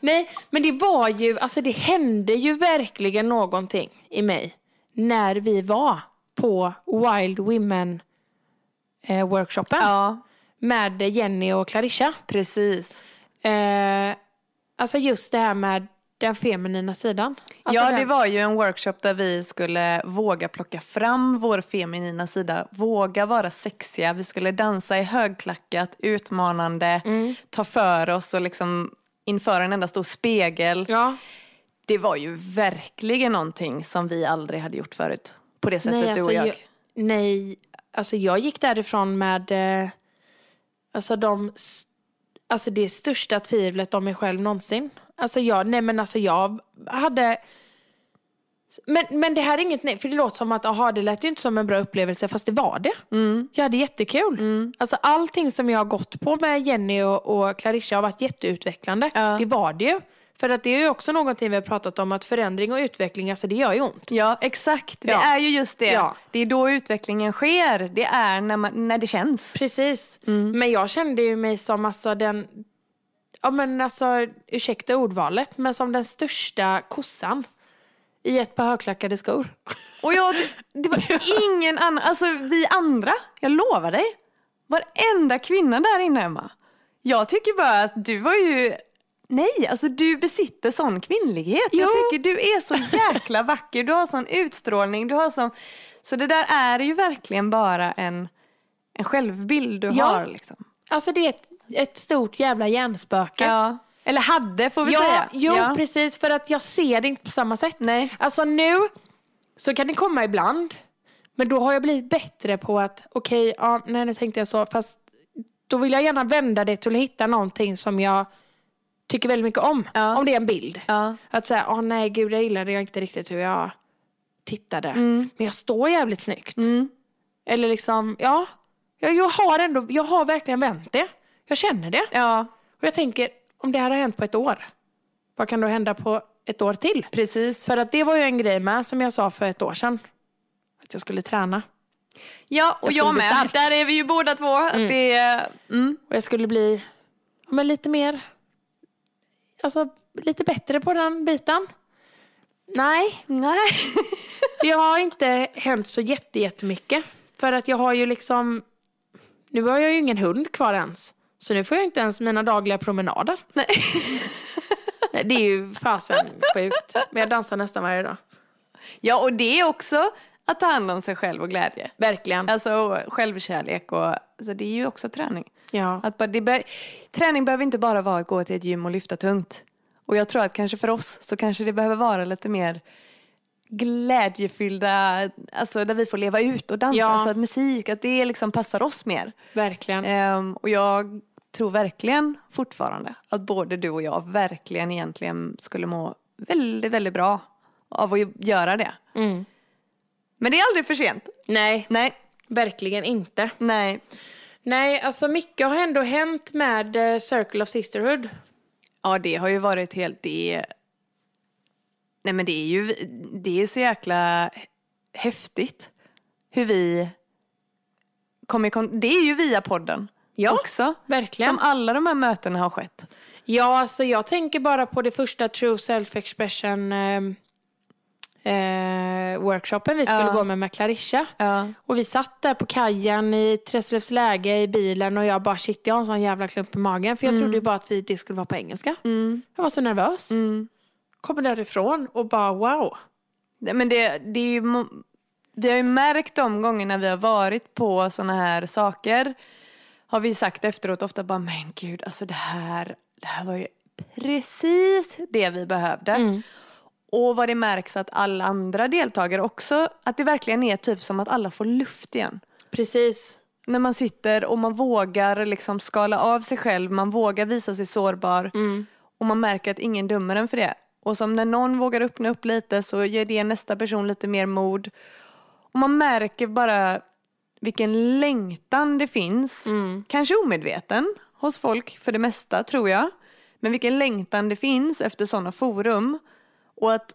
A: nej, men det var ju, alltså det hände ju verkligen någonting i mig när vi var på på Wild Women eh, workshopen
B: Ja,
A: med Jenny och Clarissa.
B: precis.
A: Eh, alltså just det här med den feminina sidan. Alltså
B: ja,
A: den-
B: det var ju en workshop där vi skulle våga plocka fram vår feminina sida, våga vara sexiga. Vi skulle dansa i högklackat, utmanande,
A: Mm.
B: ta för oss och liksom inför en enda stor spegel.
A: Ja,
B: Det var ju verkligen någonting som vi aldrig hade gjort förut. På det sättet,
A: nej, alltså,
B: du och jag.
A: nej, alltså jag gick därifrån med eh, alltså de s- alltså det största tvivlet om mig själv någonsin. Alltså jag, nej men alltså jag hade men, men det här är inget nej, för det låter som att aha, det lät ju inte som en bra upplevelse fast det var det.
B: Mm.
A: Jag hade jättekul. Alltså allting som jag har gått på med Jenny och, och Clarissa har varit jätteutvecklande.
B: Ja.
A: Det var det ju. För att det är ju också någonting vi har pratat om att förändring och utveckling, alltså det gör ju ont.
B: Ja, exakt. Det
A: Ja.
B: är ju just det.
A: Ja.
B: Det är då utvecklingen sker. Det är när, man, när det känns.
A: Precis. Men jag kände ju mig som alltså den, ja men alltså ursäkta ordvalet, men som den största kossan i ett par högklackade skor.
B: Och jag, det, det var ingen annan, alltså vi andra, jag lovar dig. Varenda kvinna där inne Emma. Jag tycker bara att du var ju, nej alltså du besitter sån kvinnlighet. Jag
A: Jo.
B: tycker du är så jäkla vacker, du har sån utstrålning, du har sån, så det där är ju verkligen bara en, en självbild du
A: Ja.
B: har liksom.
A: Alltså det är ett, ett stort jävla hjärnspöke.
B: Ja. Eller hade får vi
A: Ja,
B: säga.
A: jo
B: Ja.
A: precis för att jag ser det inte på samma sätt.
B: Nej.
A: Alltså nu så kan det komma ibland. Men då har jag blivit bättre på att okej, ja, nej nu tänkte jag så. Fast då vill jag gärna vända det till att hitta någonting som jag tycker väldigt mycket om.
B: Ja.
A: Om det är en bild.
B: Ja.
A: Att säga, åh nej gud jag gillade jag inte riktigt hur jag tittade. Men jag står jävligt snyggt. Eller liksom, ja. Jag, jag har ändå, jag har verkligen vänt det. Jag känner det.
B: ja,
A: Och jag tänker, om det här har hänt på ett år, vad kan då hända på ett år till?
B: precis.
A: För att det var ju en grej med som jag sa för ett år sedan. Att jag skulle träna.
B: Ja, och
A: skulle
B: jag,
A: bli
B: med.
A: stark.
B: Där är vi ju båda två. att Det, är- mm.
A: Och jag skulle bli ja, men lite mer, alltså lite bättre på den biten. Nej,
B: Nej.
A: det har inte hänt så jätte- jättemycket. För att jag har ju liksom, nu har jag ju ingen hund kvar ens. Så nu får jag inte ens mina dagliga promenader.
B: Nej.
A: Nej, Det är ju fasen sjukt. Men jag dansar nästan varje dag.
B: Ja, och det är också att ta hand om sig själv och glädje.
A: Verkligen.
B: Alltså och självkärlek och alltså, det är ju också träning.
A: Ja.
B: Att bara, det be- träning behöver inte bara vara att gå till ett gym och lyfta tungt. Och jag tror att kanske för oss så kanske det behöver vara lite mer glädjefyllda, alltså där vi får leva ut och dansa,
A: Ja.
B: alltså att musik, att det liksom passar oss mer.
A: Verkligen.
B: Ehm, och jag tror verkligen fortfarande att både du och jag verkligen egentligen skulle må väldigt, väldigt bra av att ju- göra det.
A: Mm.
B: Men det är aldrig för sent.
A: Nej,
B: Nej,
A: verkligen inte.
B: nej.
A: Nej, alltså mycket har ändå hänt med eh, Circle of Sisterhood.
B: Ja, det har ju varit helt... Det... Nej, men det är ju... Det är så jäkla häftigt hur vi kommer... i kon- Det är ju via podden
A: Ja,
B: också.
A: verkligen.
B: Som alla de här mötena har skett.
A: Ja, alltså jag tänker bara på det första True Self-Expression eh, eh, workshopen vi skulle
B: Ja.
A: gå med med Clarissa.
B: Ja.
A: Och vi satt där på kajen i Träslövs läge i bilen och jag bara shit, jag har en sån jävla klump i magen. För jag
B: Mm.
A: trodde ju bara att vi, det skulle vara på engelska. Jag var så nervös.
B: Mm.
A: Kommer därifrån och bara wow.
B: Nej, Men det, det är ju, mo- vi har ju märkt de gångerna vi har varit på såna här saker har vi sagt efteråt ofta bara men gud alltså det här, det här var ju precis det vi behövde. Och vad det märks att alla andra deltagare också, att det verkligen är typ som att alla får luft igen.
A: Precis.
B: När man sitter och man vågar liksom skala av sig själv, man vågar visa sig sårbar och man märker att ingen dömer en för det. Och som när någon vågar öppna upp lite så ger det nästa person lite mer mod. Och man märker bara vilken längtan det finns, kanske omedveten hos folk för det mesta tror jag, men vilken längtan det finns efter sådana forum och att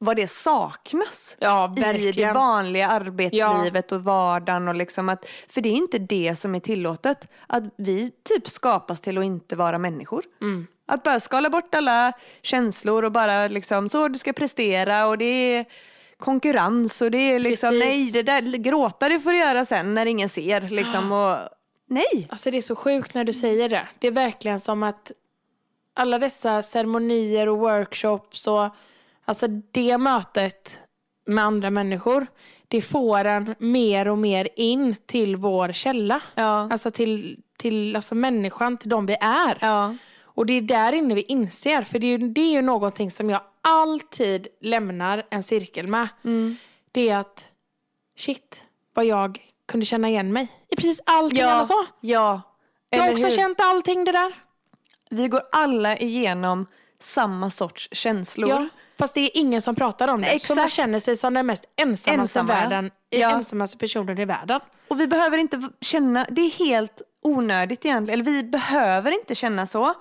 B: vad det saknas
A: Ja,
B: i det
A: verkligen.
B: vanliga arbetslivet och vardagen. Och liksom att, för det är inte det som är tillåtet. Att vi typ skapas till att inte vara människor.
A: Mm.
B: Att bara skala bort alla känslor och bara liksom så du ska prestera och det är konkurrens och det är liksom
A: Precis.
B: nej, det där gråta det får du göra sen när ingen ser liksom och nej.
A: Alltså det är så sjukt när du säger det. Det är verkligen som att alla dessa ceremonier och workshops och alltså det mötet med andra människor, det får en mer och mer in till vår källa.
B: Ja.
A: Alltså till, till alltså människan, till de vi är.
B: Ja.
A: Och det är där inne vi inser, för det är ju, det är ju någonting som jag alltid lämnar en cirkel med. Det är att shit, vad jag kunde känna igen mig i precis allting alla sa.
B: ja.
A: Jag har
B: Eller
A: också
B: hur?
A: känt allting det där.
B: Vi går alla igenom samma sorts känslor.
A: Ja. Fast det är ingen som pratar om det. Så man
B: Exakt.
A: känner sig som den mest ensammaste,
B: Ensamma.
A: världen, eh,
B: Ja.
A: ensammaste personen i världen.
B: Och vi behöver inte v- känna, det är helt onödigt egentligen, eller vi behöver inte känna så.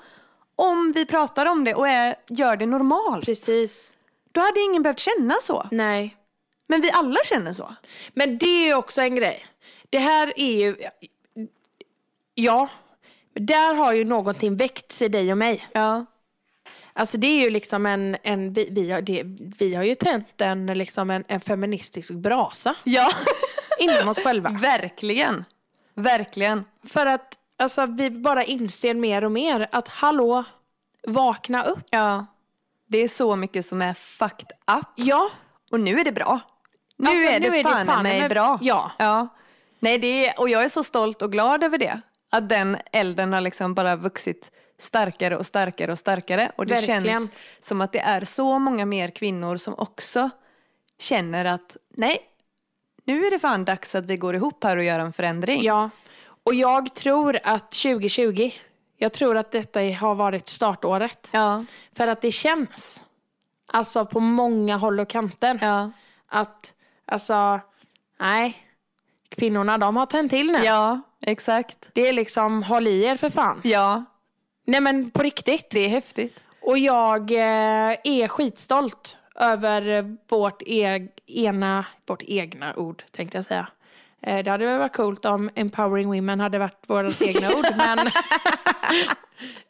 B: Om vi pratar om det och är, gör det normalt,
A: Precis.
B: då hade ingen behövt känna så.
A: Nej.
B: Men vi alla känner så.
A: Men det är också en grej. Det här är ju... Ja. Men Där har ju någonting väckts i dig och mig.
B: Ja.
A: Alltså det är ju liksom en, en vi, vi, har, det, vi har ju tänt en, liksom en, en feministisk brasa
B: Ja,
A: inom oss själva.
B: verkligen. Verkligen.
A: För att alltså, vi bara inser mer och mer att hallå, vakna upp.
B: Ja. Det är så mycket som är fucked up.
A: Ja,
B: Och nu är det bra. Nu
A: Alltså,
B: är det
A: nu är det
B: fan,
A: fan
B: mig
A: med-
B: bra.
A: Ja.
B: ja. Nej, det är, och jag är så stolt och glad över det. Att den elden har liksom bara vuxit starkare och starkare och starkare. Och det
A: Verkligen.
B: känns som att det är så många mer kvinnor som också känner att nej, nu är det fan dags att vi går ihop här och gör en förändring.
A: ja. Och jag tror att 2020, jag tror att detta har varit startåret.
B: Ja.
A: För att det känns, alltså på många håll och kanter,
B: Ja.
A: att alltså, nej, kvinnorna de har tänt till nu.
B: ja, exakt.
A: Det är liksom, håll i er för fan.
B: Ja,
A: Nej men på riktigt.
B: det är häftigt.
A: Och jag eh, är skitstolt över eh, vårt, e- ena, vårt egna ord, tänkte jag säga. Eh, det hade väl varit coolt om empowering women hade varit vårt egna ord, men...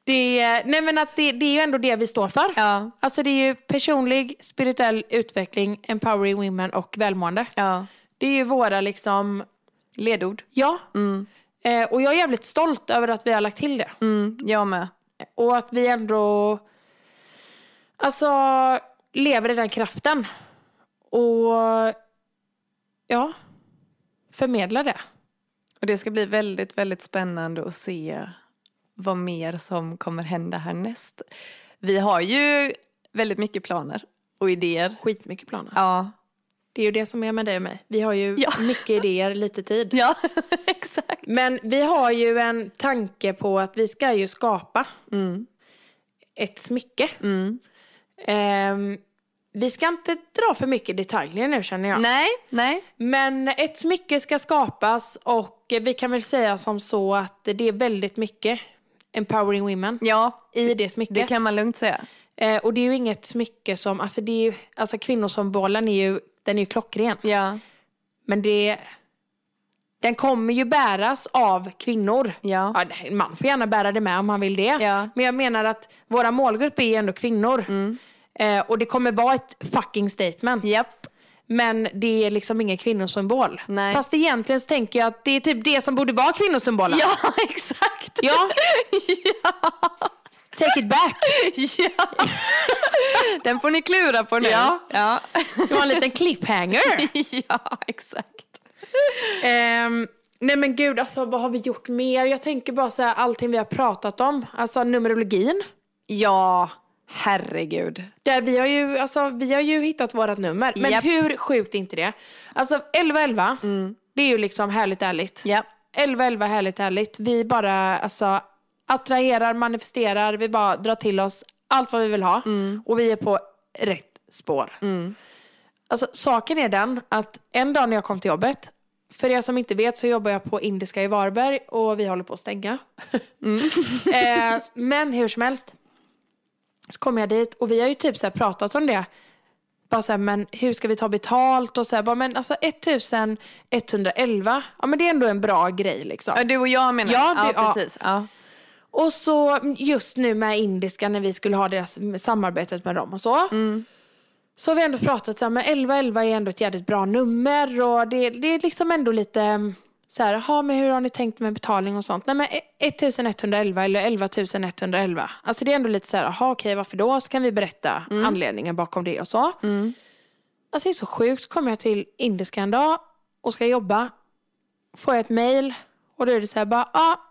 A: det, nej men att det, det är ju ändå det vi står för.
B: Ja.
A: Alltså det är ju personlig, spirituell utveckling, empowering women och välmående.
B: Ja.
A: Det är ju våra liksom,
B: Ledord.
A: ja. Eh, och jag är jävligt stolt över att vi har lagt till det.
B: Mm, jag med.
A: Och att vi ändå alltså, lever i den kraften. Och ja, förmedlar det.
B: Och det ska bli väldigt, väldigt spännande att se vad mer som kommer hända härnäst. Vi har ju väldigt mycket planer och idéer.
A: Skitmycket planer.
B: Ja,
A: Det är ju det som är med dig och mig. Vi har ju
B: Ja.
A: mycket idéer, lite tid.
B: ja exakt.
A: Men vi har ju en tanke på att vi ska ju skapa ett smycke. Ehm, vi ska inte dra för mycket detaljer nu känner jag.
B: Nej, nej.
A: Men ett smycke ska skapas och vi kan väl säga som så att det är väldigt mycket empowering women
B: Ja,
A: i det smycket.
B: det kan man lugnt säga.
A: Eh, och det är ju inget smycke som, alltså, det är ju, alltså kvinnosymbolen är ju, den är ju klockren.
B: Ja,
A: Men det, den kommer ju bäras av kvinnor.
B: Ja.
A: nej, man får gärna bära det med om man vill det.
B: Ja. Mm.
A: Men jag menar att våra målgrupp är ju ändå kvinnor. Eh, och det kommer vara ett fucking statement.
B: japp.
A: Men det är liksom ingen kvinnosymbol.
B: Nej.
A: Fast egentligen så tänker jag att det är typ det som borde vara kvinnosymbolen.
B: Ja, exakt.
A: Ja. Take it back.
B: ja. Den får ni klura på nu.
A: Ja.
B: ja.
A: Det var en liten cliffhanger.
B: ja exakt.
A: Ehm, nej men gud, alltså, vad har vi gjort mer? Jag tänker bara säga allting vi har pratat om. Alltså numerologin.
B: Ja, herregud.
A: Där vi, har ju, alltså, vi har ju hittat vårt nummer. Men
B: Japp. Mm.
A: hur sjukt är inte det? Alltså 1111, det är ju liksom härligt ärligt.
B: Ja.
A: 1111 härligt härligt. Vi bara alltså, attraherar, manifesterar, vi bara drar till oss allt vad vi vill ha och vi är på rätt spår. Alltså, saken är den att en dag när jag kom till jobbet, för er som inte vet så jobbar jag på Indiska i Varberg och vi håller på att stänga. eh, men hur som helst så kom jag dit och vi har ju typ så här pratat om det. Bara så här, men hur ska vi ta betalt? Och så här, bara, men alltså 1111, ja men det är ändå en bra grej liksom.
B: Ja, Du och jag menar
A: Ja, du-
B: ja
A: ja.
B: precis. Ja.
A: Och så just nu med indiska när vi skulle ha deras samarbetet med dem och så. Så har vi ändå pratat så här, men 1111 är ändå ett jävligt bra nummer och det, det är liksom ändå lite mm, så här, jaha men hur har ni tänkt med betalning och sånt? Nej men e- 1111 eller 11 111. Alltså det är ändå lite så här, jaha okej varför då? Så kan vi berätta anledningen bakom det och så. Alltså det är så sjukt. Så kommer jag till Indiska en dag och ska jobba. Får jag ett mail och då är det så här bara, ja.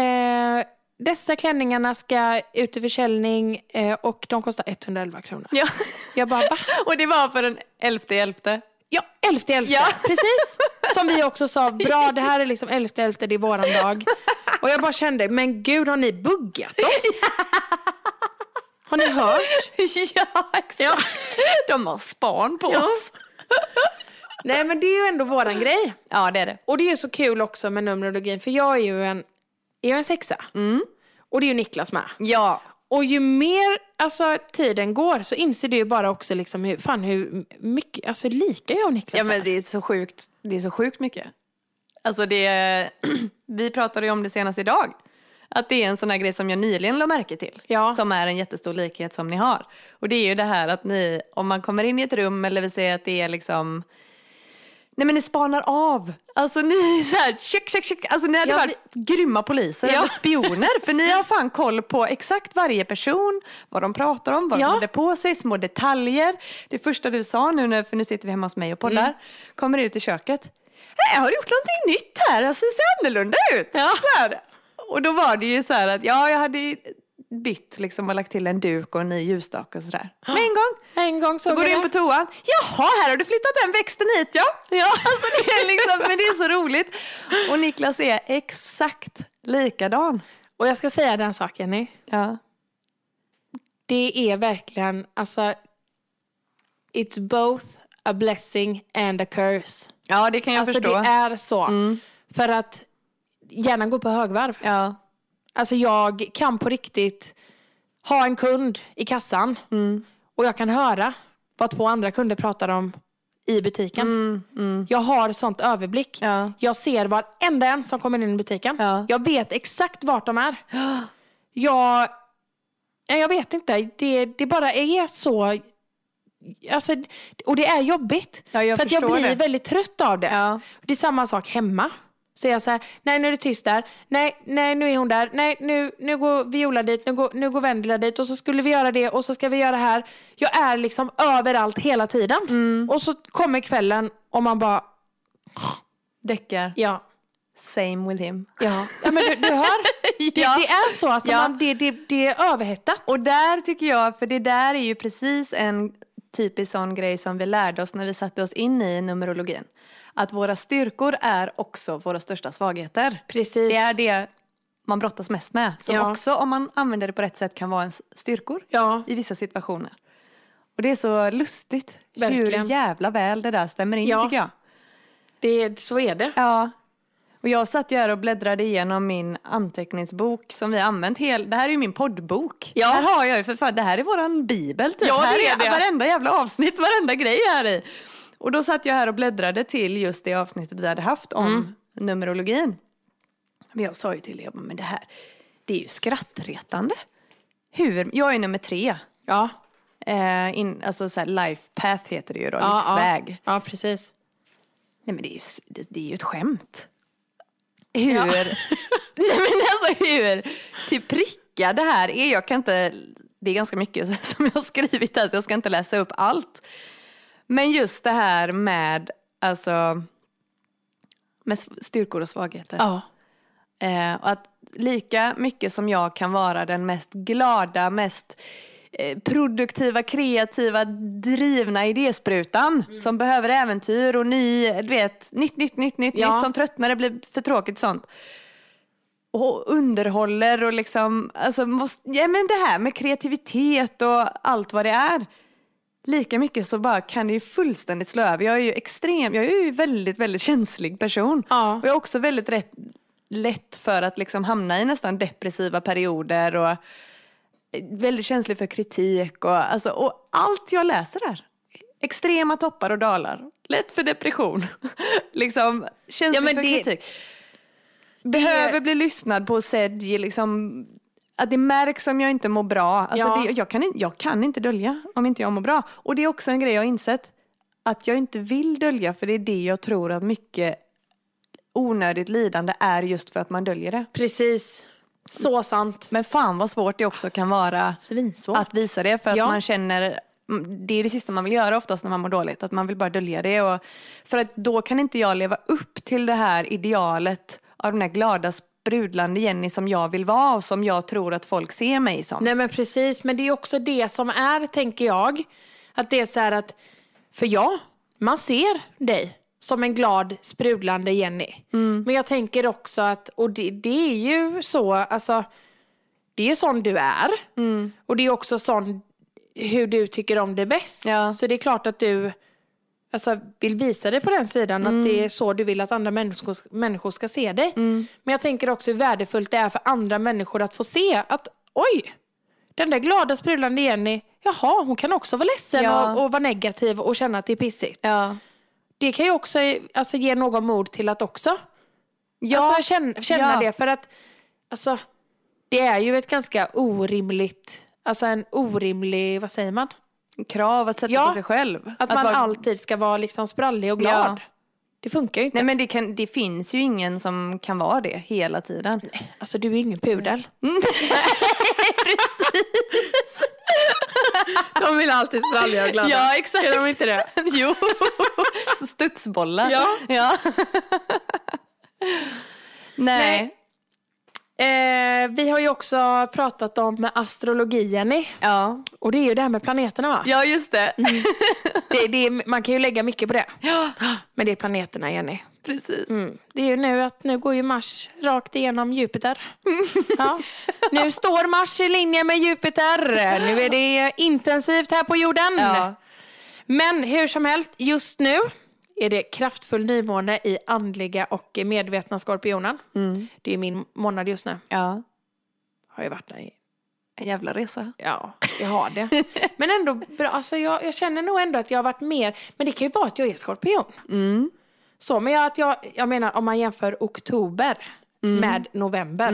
A: eh, dessa klänningarna ska ut i försäljning eh, och de kostar 111 kronor.
B: Ja.
A: Jag bara, va?
B: Och det var för den elfte elfte.
A: Ja, elfte elfte.
B: Ja.
A: Precis. Som vi också sa, bra det här är liksom elfte elfte, det är våran dag. Och jag bara kände, men gud har ni buggat oss? Har ni hört?
B: ja, exakt.
A: Ja.
B: De har span på oss.
A: Nej men det är ju ändå våran grej.
B: Ja, det är det.
A: Och det är ju så kul också med Numerologin för jag är ju en, är jag en sexa.
B: Mm.
A: Och det är ju Niklas med.
B: Ja.
A: Och ju mer alltså, tiden går så inser du ju bara också liksom hur, fan, hur mycket, alltså, hur lika jag och Niklas
B: Ja, men
A: är.
B: det är så sjukt. Det är så sjukt mycket. Alltså det, vi pratade ju om det senast idag. Att det är en sån här grej som jag nyligen la märke till.
A: Ja.
B: Som är en jättestor likhet som ni har. Och det är ju det här att ni, om man kommer in i ett rum eller vi säger att det är liksom Nej men ni spanar av. Alltså ni är så här, check, check, check. Alltså ni hade
A: Ja,
B: varit grymma poliser eller spioner. För ni har fan koll på exakt varje person, vad de pratar om, vad
A: Ja.
B: de hade på sig, små detaljer. Det första du sa nu, när- för nu sitter vi hemma hos mig och poddar, kommer ut i köket. Nej, har du gjort någonting nytt här? Alltså det ser annorlunda ut. Så här. Och då var det ju så här att ja, jag hade bytt liksom och lagt till en duk och en ny ljusstake och sådär. Med en gång.
A: En gång
B: Så
A: såg
B: går du
A: jag
B: in på
A: det.
B: toan. Jaha, här har du flyttat den växten hit ja. ja. Alltså, det är liksom, men det är så roligt. Och Niklas är exakt likadan.
A: Och jag ska säga den sak Jenny.
B: Ja.
A: Det är verkligen, alltså, it's both a blessing and a curse.
B: ja, det kan jag
A: alltså
B: förstå.
A: det är så. För att hjärnan går på högvarv.
B: Ja.
A: Alltså jag kan på riktigt ha en kund i kassan
B: Mm.
A: och jag kan höra vad två andra kunder pratar om i butiken. Jag har sånt överblick.
B: Mm, Ja.
A: Jag ser varenda en som kommer in i butiken.
B: Ja.
A: Jag vet exakt vart de är. Jag, nej, jag vet inte. Det, det bara är så... Alltså, och det är jobbigt.
B: Ja, jag
A: för att jag
B: förstår
A: blir
B: det.
A: väldigt trött av det.
B: Ja.
A: Det är samma sak hemma. Så jag säger, nej nu är det tyst där, nej, nej nu är hon där, nej nu, nu går Viola dit, nu går, nu går Vendela dit och så skulle vi göra det och så ska vi göra det här. Jag är liksom överallt hela tiden.
B: Mm.
A: Och så kommer kvällen och man bara,
B: Däckar.
A: ja,
B: Same with him.
A: ja, ja men du, du hör. Det,
B: Ja.
A: det är så, alltså,
B: Ja.
A: man, det, det, det är överhettat.
B: Och där tycker jag, för det där är ju precis en typisk sån grej som vi lärde oss när vi satte oss in i numerologin. Att våra styrkor är också våra största svagheter.
A: Precis.
B: Det är det man brottas mest med. Som
A: Ja.
B: också, om man använder det på rätt sätt, kan vara ens styrkor
A: Ja,
B: i vissa situationer. Och det är så lustigt
A: Verkligen.
B: hur jävla väl det där stämmer in
A: Ja.
B: tycker jag.
A: det, så är det.
B: Ja. Och jag satt ju här och bläddrade igenom min anteckningsbok som vi har använt hel... Det här är ju min poddbok.
A: Ja.
B: Här har jag ju för fan, det här är våran bibel typ.
A: Ja, det
B: här
A: är det.
B: varenda jävla avsnitt, varenda grej här i. Och då satt jag här och bläddrade till just det avsnittet vi hade haft om
A: Mm.
B: numerologin. Men jag sa ju till dig, jag bara, men det här, det är ju skrattretande. Hur? Jag är nummer tre.
A: Ja,
B: Eh, in, alltså så här life path heter det ju då,
A: ja,
B: livsväg.
A: Ja, ja precis.
B: Nej men det är ju, s- det, det är ju ett skämt. Hur, nej men alltså hur till pricka det här är. Jag kan inte, det är ganska mycket som jag har skrivit här så jag ska inte läsa upp allt. Men just det här med, alltså, med s- styrkor och svagheter.
A: Ja,
B: Eh, och att lika mycket som jag kan vara den mest glada, mest eh, produktiva, kreativa, drivna idésprutan som behöver äventyr och ny, du vet, nytt, nytt, nytt, nytt,
A: Ja.
B: nytt som tröttnar, det blir för tråkigt och sånt. Och underhåller och liksom, alltså måste, ja men det här med kreativitet och allt vad det är. Lika mycket så bara kan det ju fullständigt slå över. Jag är ju extrem, jag är ju väldigt, väldigt känslig person.
A: Ja.
B: Och jag är också väldigt rätt, lätt för att liksom hamna i nästan depressiva perioder och väldigt känslig för kritik och, alltså, och allt jag läser där. Extrema toppar och dalar. Lätt för depression. liksom känslig
A: Ja, men
B: för
A: det-
B: kritik. Behöver bli lyssnad på och sedd. ge Liksom, att det märks om jag inte mår bra. Alltså
A: Ja.
B: det, jag, kan, in- jag kan inte dölja om inte jag mår bra. Och det är också en grej jag har insett. Att jag inte vill dölja för det är det jag tror att mycket onödigt lidande är just för att man döljer det.
A: Precis. Så sant.
B: Men fan vad svårt det också kan vara
A: Svinsvårt.
B: att visa det för att
A: Ja.
B: man känner mm, det är det sista man vill göra oftast när man mår dåligt, att man vill bara dölja det. Och, för att då kan inte jag leva upp till det här idealet av den här glada sprudlande Jenny som jag vill vara och som jag tror att folk ser mig som.
A: Nej men precis, men det är också det som är, tänker jag. Att det är så här att, för ja, man ser dig som en glad, sprudlande Jenny. Men jag tänker också att, och det, det är ju så, alltså, det är ju sån du är. Och det är också sån hur du tycker om det bäst.
B: Ja.
A: Så det är klart att du alltså, vill visa dig på den sidan, att
B: Mm.
A: det är så du vill att andra människor, människor ska se dig. Men jag tänker också hur värdefullt det är för andra människor att få se att oj, den där glada sprudlande Jenny, jaha, hon kan också vara ledsen
B: Ja.
A: och, och vara negativ och känna att det är pissigt.
B: Ja.
A: Det kan ju också alltså, ge någon mod till att också
B: Ja.
A: alltså, känna, känna
B: Ja.
A: det. För att alltså, det är ju ett ganska orimligt, alltså en orimlig, vad säger man?
B: krav att sätta
A: Ja.
B: på sig själv.
A: Att, man
B: vara-
A: alltid ska vara liksom sprallig och glad.
B: Ja.
A: Det funkar ju inte.
B: Nej men det, kan, det finns ju ingen som kan vara det hela tiden.
A: Alltså du är ju ingen pudel. De vill alltid spralliga och glada.
B: Ja exakt.
A: Är de inte det?
B: jo, studsbollar.
A: Ja.
B: ja.
A: Nej.
B: Nej.
A: Eh, vi har ju också pratat om astrologi, Jenny.
B: Ja. Mm.
A: Och det är ju det här med planeterna va?
B: ja, just det.
A: Det, det är, man kan ju lägga mycket på det. Men det är planeterna, Jenny.
B: Precis.
A: Det är ju nu att nu går ju Mars rakt igenom Jupiter. Ja. Nu står Mars i linje med Jupiter. Nu är det intensivt här på jorden.
B: Ja.
A: Men hur som helst, just nu är det kraftfull nymåne i andliga och medvetna skorpionen. Det är min månad just nu.
B: Ja.
A: Har jag varit där i
B: En jävla resa.
A: Ja, jag har det. Men ändå bra. Alltså jag, jag känner nog ändå att jag har varit mer... Men det kan ju vara att jag är skorpion. Så, men jag, att jag, jag menar om man jämför oktober med november.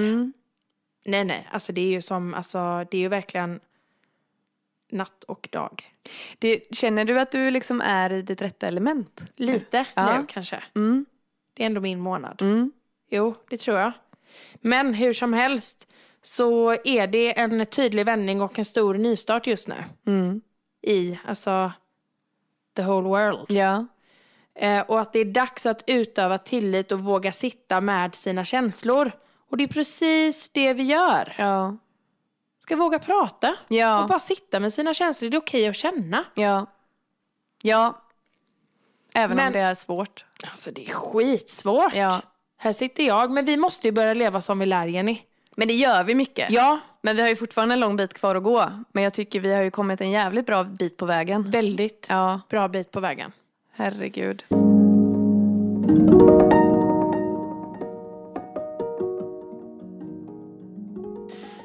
A: Nej, nej. Alltså det är ju som... Alltså, det är ju verkligen natt och dag.
B: Det, känner du att du liksom är i ditt rätta element?
A: Lite
B: Ja. Mm.
A: nu kanske. Det är ändå min månad. Jo, det tror jag. Men hur som helst så är det en tydlig vändning och en stor nystart just nu.
B: Mm.
A: I, alltså, the whole world.
B: Ja.
A: Eh, och att det är dags att utöva tillit och våga sitta med sina känslor. Och det är precis det vi gör.
B: Ja.
A: Ska våga prata.
B: Ja.
A: Och bara sitta med sina känslor. Det är okej att känna.
B: Ja. Ja. Även
A: Men-
B: om det är svårt.
A: Alltså det är skitsvårt.
B: Ja.
A: Här sitter jag. Men vi måste ju börja leva som vi lär, Jenny.
B: Men det gör vi mycket.
A: Ja,
B: Men vi har ju fortfarande en lång bit kvar att gå. Men jag tycker vi har ju kommit en jävligt bra bit på vägen.
A: väldigt
B: Ja,
A: bra bit på vägen.
B: herregud.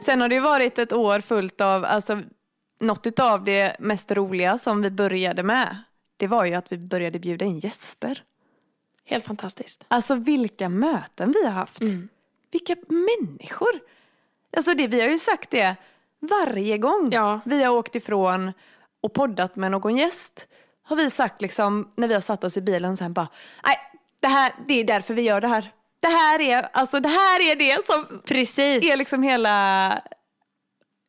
B: Sen har det ju varit ett år fullt av, alltså något av det mest roliga som vi började med. Det var ju att vi började bjuda in gäster.
A: Helt fantastiskt.
B: Alltså vilka möten vi har haft. Vilka människor. Alltså det, vi har ju sagt det varje gång
A: Ja.
B: vi har åkt ifrån och poddat med någon gäst. Har vi sagt liksom när vi har satt oss i bilen sen bara, nej det här, det är därför vi gör det här. Det här är, alltså det här är det som
A: Precis.
B: är liksom hela,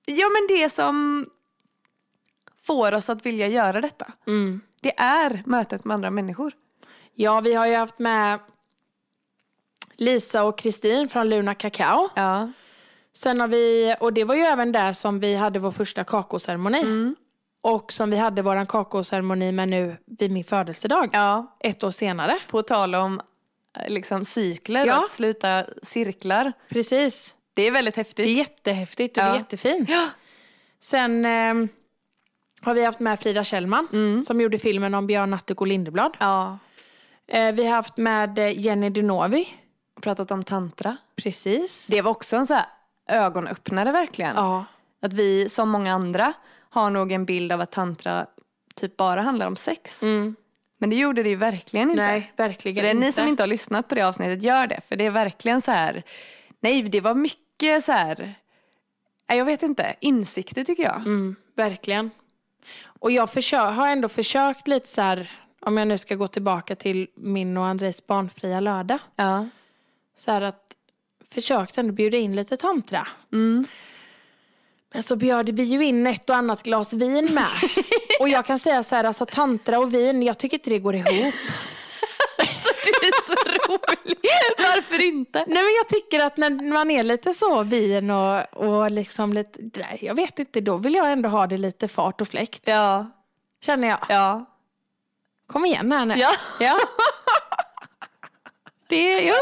B: ja men det som får oss att vilja göra detta. Det är mötet med andra människor.
A: Ja, vi har ju haft med Lisa och Kristin från Luna Kakao.
B: Ja.
A: Sen har vi, och det var ju även där som vi hade vår första kakaoceremoni. Och som vi hade vår kakaoceremoni med nu vid min födelsedag.
B: Ja,
A: Ett år senare.
B: På tal om eh, liksom, cykler,
A: Ja.
B: att sluta cirklar.
A: Precis.
B: Det är väldigt
A: Det är
B: häftigt.
A: jättehäftigt och det är
B: Ja.
A: jättefint.
B: Ja.
A: Sen ehm, har vi haft med Frida Kjellman som gjorde filmen om Björn Attic och Lindeblad.
B: ja.
A: Eh, vi har haft med eh, Jenny Dunovi.
B: Pratat om tantra.
A: Precis.
B: Det var också en så här ögonöppnare verkligen.
A: Ja.
B: Att vi, som många andra, har nog en bild av att tantra typ bara handlar om sex. Men det gjorde det ju Mm. verkligen inte.
A: Nej, verkligen
B: Så det är
A: inte.
B: ni som inte har lyssnat på det avsnittet, gör det. För det är verkligen så här... Nej, det var mycket så här... Nej, jag vet inte. Insikter tycker jag.
A: Mm, verkligen. Och jag försö- har ändå försökt lite så här, om jag nu ska gå tillbaka till min och Andres barnfria lördag.
B: Ja.
A: Så här att, försökt ändå bjuda in lite tantra.
B: Mm.
A: Men så bjöd vi ju in ett och annat glas vin med. och jag kan säga så här, alltså tantra och vin, jag tycker inte det går ihop.
B: Alltså, Du är så rolig. Varför inte?
A: Nej men jag tycker att när man är lite så vin och, och liksom lite, nej, jag vet inte, då vill jag ändå ha det lite fart och fläkt.
B: Ja.
A: Känner jag.
B: Ja.
A: Kom igen här nu.
B: Ja.
A: ja.
B: Det, ja.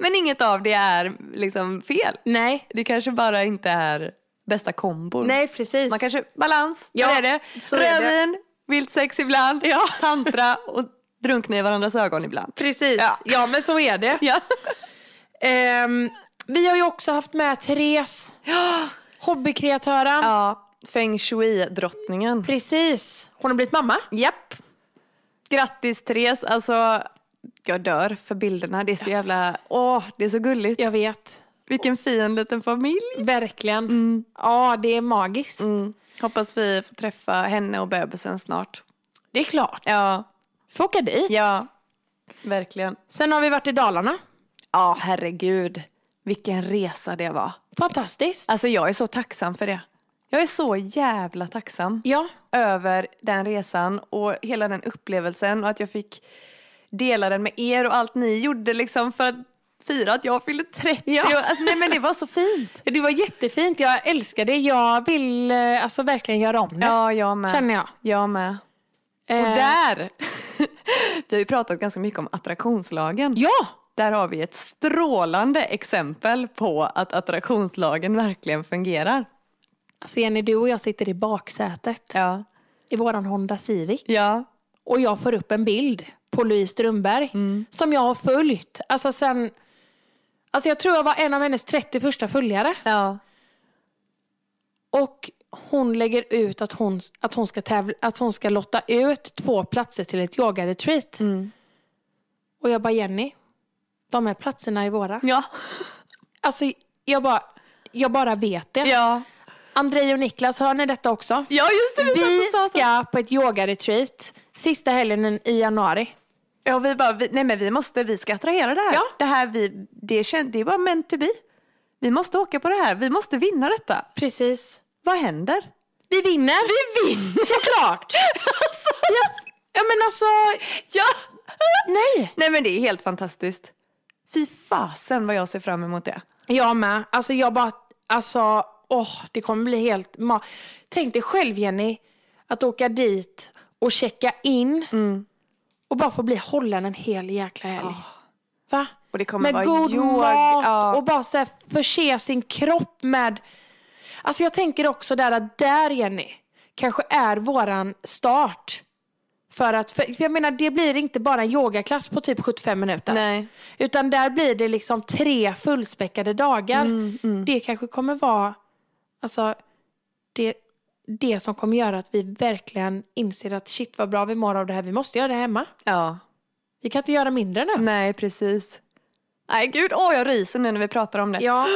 B: Men inget av det är liksom fel.
A: Nej.
B: Det kanske bara inte är bästa kombon.
A: Nej precis.
B: Man kanske, balans,
A: Ja,
B: där är det.
A: så är det.
B: Rödvin, vilt sex ibland, tantra och drunkna i varandras ögon ibland.
A: Precis.
B: Ja.
A: Ja. men så är det.
B: Ja.
A: Ehm, vi har ju också haft med Therese. Hobbykreatören.
B: ja. Feng shui-drottningen.
A: Precis. Hon har blivit mamma.
B: Japp. Grattis Therese, alltså jag dör för bilderna. Det är så jävla, åh det är så gulligt.
A: Jag vet.
B: Vilken fin liten familj.
A: Verkligen.
B: Mm.
A: Ja, det är magiskt.
B: Hoppas vi får träffa henne och bebisen snart.
A: Det är klart.
B: Ja,
A: Får åka dit.
B: ja. Verkligen.
A: Sen har vi varit i Dalarna.
B: Ja, herregud. Vilken resa det var.
A: Fantastiskt.
B: Alltså jag är så tacksam för det. Jag är så jävla tacksam
A: Ja.
B: över den resan och hela den upplevelsen och att jag fick dela den med er och allt ni gjorde liksom för att fira att jag fyllde 30.
A: Ja.
B: Och, alltså, nej men det var så fint.
A: Det var jättefint. Jag älskar det. Jag vill eh, alltså, verkligen göra om det.
B: Ja, jag med.
A: Känner jag.
B: Jag med. Och
A: Eh,
B: där! vi har ju pratat ganska mycket om attraktionslagen.
A: Ja!
B: Där har vi ett strålande exempel på att attraktionslagen verkligen fungerar.
A: Alltså Jenny, du och jag sitter i baksätet
B: Ja.
A: i våran Honda Civic.
B: Ja.
A: och jag får upp en bild på Louise Strömberg
B: Mm.
A: som jag har följt. Alltså sen, alltså jag tror jag var en av hennes 30 första följare.
B: Ja.
A: Och hon lägger ut att hon, att hon, ska, tävla, att hon ska lotta ut två platser till ett yogaretreat.
B: Mm.
A: Och jag bara Jenny, de här platserna är våra.
B: Ja.
A: Alltså jag bara, jag bara vet det.
B: Ja.
A: Andrei och Niklas, hör ni detta också?
B: Ja, just det. Vi,
A: Vi
B: satt och sa så.
A: ska på ett yogaretreat sista helgen i januari.
B: Ja, vi bara, vi, nej men vi måste, vi ska attrahera det här.
A: Ja.
B: Det här vi, det, kän, det är bara meant to be. Vi måste åka på det här, vi måste vinna detta.
A: Precis.
B: Vad händer?
A: Vi vinner! Vi vinner! Såklart!
B: Alltså.
A: ja, ja men alltså,
B: Ja!
A: nej!
B: Nej men det är helt fantastiskt. Fy fasen vad jag ser fram emot det.
A: Jag med. Alltså jag bara, alltså, åh, det kommer bli helt ma- Tänk dig själv Jenny, att åka dit och checka in
B: Mm.
A: och bara få bli hållen en hel jäkla helg. Va?
B: Och det kommer
A: med
B: vara
A: god
B: yoga,
A: mat
B: ja.
A: och bara så här, förse sin kropp med... Alltså jag tänker också där att där Jenny, kanske är våran start. För att, för för jag menar det blir inte bara en yogaklass på typ 75 minuter.
B: Nej.
A: Utan där blir det liksom tre fullspäckade dagar.
B: Mm,
A: Det kanske kommer vara alltså, det, det som kommer göra att vi verkligen inser att shit vad bra vi mår av det här. Vi måste göra det hemma.
B: Ja.
A: Vi kan inte göra mindre nu.
B: Nej, precis. Nej gud, åh jag ryser nu när vi pratar om det.
A: Ja.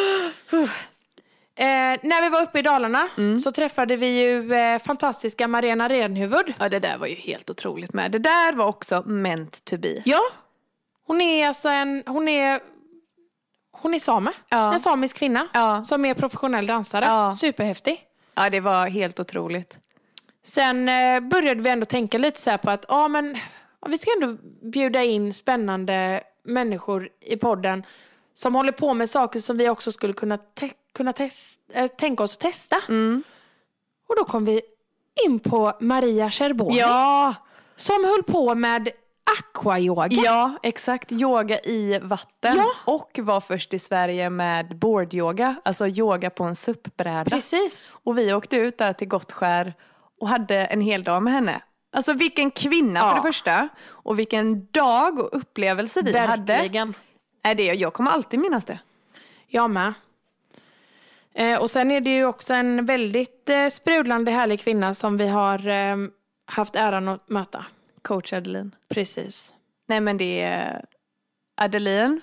A: Eh, när vi var uppe i Dalarna
B: Mm.
A: så träffade vi ju eh, fantastiska Marena Renhuvud.
B: Ja, det där var ju helt otroligt med. Det där var också meant to be.
A: Ja. Hon är alltså en, hon är, hon är same.
B: Ja.
A: En samisk kvinna
B: Ja.
A: som är professionell dansare.
B: Ja.
A: Superhäftig.
B: Ja, det var helt otroligt.
A: Sen eh, började vi ändå tänka lite så här på att ja, men, ja, vi ska ändå bjuda in spännande människor i podden som håller på med saker som vi också skulle kunna, te- kunna tes- eh, tänka oss att testa.
B: Mm.
A: Och då kom vi in på Maria Cherborg
B: Ja,
A: som höll på med aquayoga.
B: ja, exakt. Yoga i vatten.
A: Ja.
B: Och var först i Sverige med boardyoga, alltså yoga på en SUP-bräda.
A: Precis.
B: Och vi åkte ut där till Gottskär och hade en hel dag med henne. Alltså vilken kvinna för
A: Ja.
B: det första och vilken dag och upplevelse vi hade.
A: Verkligen.
B: Nej, det, jag kommer alltid minnas det.
A: Jag med. Eh, och sen är det ju också en väldigt eh, sprudlande härlig kvinna som vi har eh, haft äran att möta.
B: Coach Adeline.
A: Precis.
B: Nej men det är... Adeline,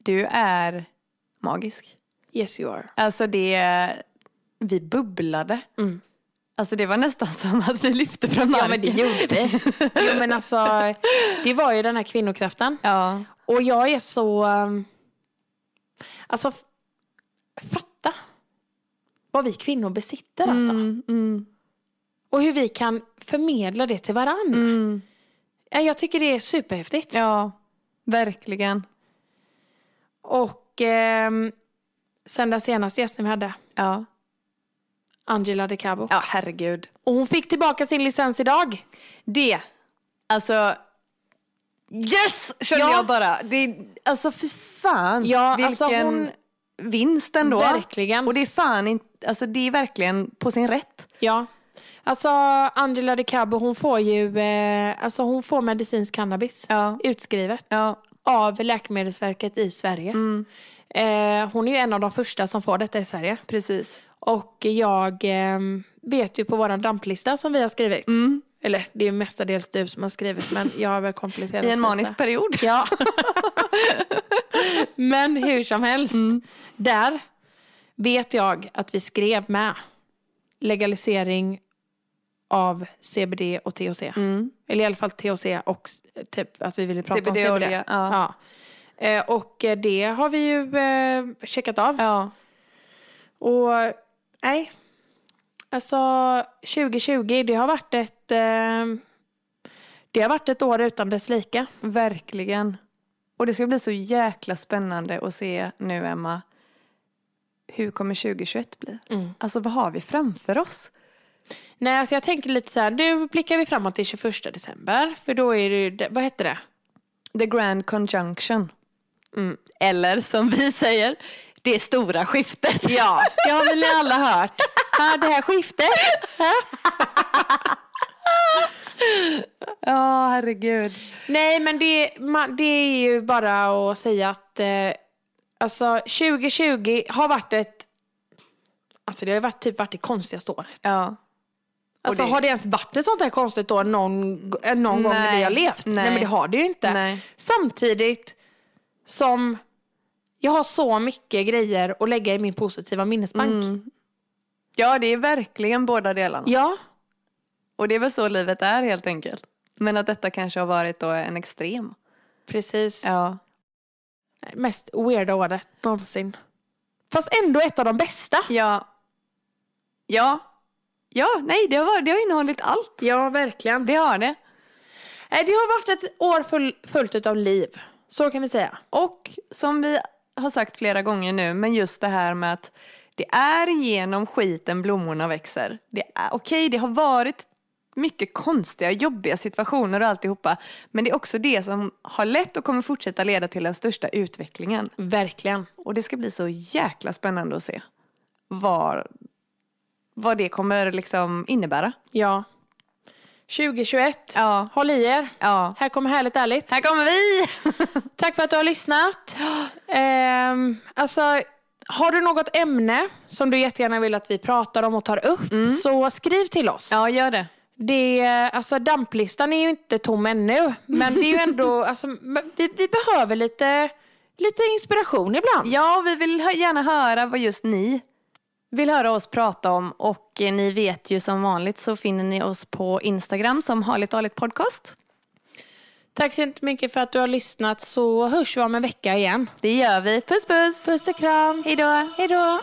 B: du är magisk.
A: Yes you are.
B: Alltså det... vi bubblade. Alltså det var nästan som att vi lyfte från marken.
A: Mm. Ja, men det gjorde vi. Jo, men alltså, det var ju den här kvinnokraften.
B: Ja.
A: Och jag är så... um, Alltså, f- fatta vad vi kvinnor besitter alltså.
B: Mm, mm,
A: Och hur vi kan förmedla det till varann.
B: mm.
A: Ja, Jag tycker det är superhäftigt.
B: ja, verkligen.
A: Och ehm, sen den senaste gästen vi hade,
B: Ja.
A: Angela De Cabo.
B: ja, herregud.
A: Och hon fick tillbaka sin licens idag.
B: Det, alltså... Yes! Kände
A: Ja.
B: jag bara. Det, alltså för fan.
A: Ja,
B: Vilken
A: alltså hon-
B: vinst ändå.
A: Verkligen.
B: Och det är fan inte, alltså det är verkligen på sin rätt.
A: Ja. Alltså Angela De Cabo hon får ju eh, alltså hon får medicinsk cannabis
B: Ja.
A: utskrivet
B: Ja.
A: av Läkemedelsverket i Sverige.
B: Mm.
A: Eh, hon är ju en av de första som får detta i Sverige.
B: Precis.
A: Och jag eh, vet ju på vår damplista som vi har skrivit.
B: Mm.
A: Eller det är ju mestadels du som har skrivit men jag har väl kompletterat
B: I en
A: lite.
B: manisk period.
A: Ja. Men hur som helst,
B: Mm.
A: där vet jag att vi skrev med legalisering av CBD och THC.
B: Mm.
A: Eller i alla fall THC och s- typ att vi ville prata om CBD.
B: CBD-olja, ja.
A: Ja. Eh, Och eh, det har vi ju eh, checkat av.
B: Ja.
A: Och nej, alltså 2020 det har varit ett, eh, det har varit ett år utan dess like.
B: Verkligen. Och det ska bli så jäkla spännande att se nu, Emma, hur kommer 2021 bli? Alltså vad har vi framför oss?
A: Nej, alltså jag tänker lite så här, nu blickar vi framåt till 21 december, för då är det ju, det- vad heter det?
B: The Grand Conjunction. Mm. Eller som vi säger, det stora skiftet. Ja.
A: Det har väl ni alla hört? Ja, det här skiftet.
B: Ja, herregud.
A: Nej, men det, man, det är ju bara att säga att eh, alltså 2020 har varit ett, alltså det har varit typ varit det konstigaste året.
B: Ja.
A: Alltså
B: det-
A: har det ens varit ett sånt här konstigt år någon, g- eh, någon gång när vi
B: Nej,
A: har levt? Nej.
B: nej.
A: men det har det ju inte.
B: Nej.
A: Samtidigt som jag har så mycket grejer att lägga i min positiva minnesbank.
B: Mm. ja, det är verkligen båda delarna.
A: Ja,
B: Och det är väl så livet är helt enkelt. Men att detta kanske har varit då en extrem.
A: precis.
B: Ja.
A: Mest weirda året någonsin. Fast ändå ett av de bästa.
B: Ja. Ja. Ja, nej, det har, varit, det har innehållit allt.
A: Ja, verkligen.
B: Det har det.
A: Nej, Det har varit ett år full, fullt av liv. Så kan vi säga.
B: Och som vi har sagt flera gånger nu, men just det här med att det är genom skiten blommorna växer. Det är okej, det har varit mycket konstiga, jobbiga situationer och alltihopa. Men det är också det som har lett och kommer fortsätta leda till den största utvecklingen.
A: Verkligen.
B: Och det ska bli så jäkla spännande att se var, vad det kommer liksom innebära.
A: Ja. 2021.
B: Ja.
A: Håll i er.
B: Ja.
A: Här kommer Härligt Ärligt.
B: Här kommer vi!
A: Tack för att du har lyssnat. Ehm, alltså, har du något ämne som du jättegärna vill att vi pratar om och tar upp så skriv till oss.
B: Ja, gör det.
A: Det, alltså damplistan är ju inte tom ännu, men det är ju ändå, alltså, men vi, vi behöver lite, lite inspiration ibland.
B: Ja, och vi vill hö- gärna höra vad just ni vill höra oss prata om. Och eh, ni vet ju som vanligt så finner ni oss på Instagram som Harligt Arligt Podcast.
A: Tack så mycket för att du har lyssnat, så hörs vi om en vecka igen.
B: Det gör vi. Puss puss!
A: Puss och kram!
B: Hej då!
A: Hej då!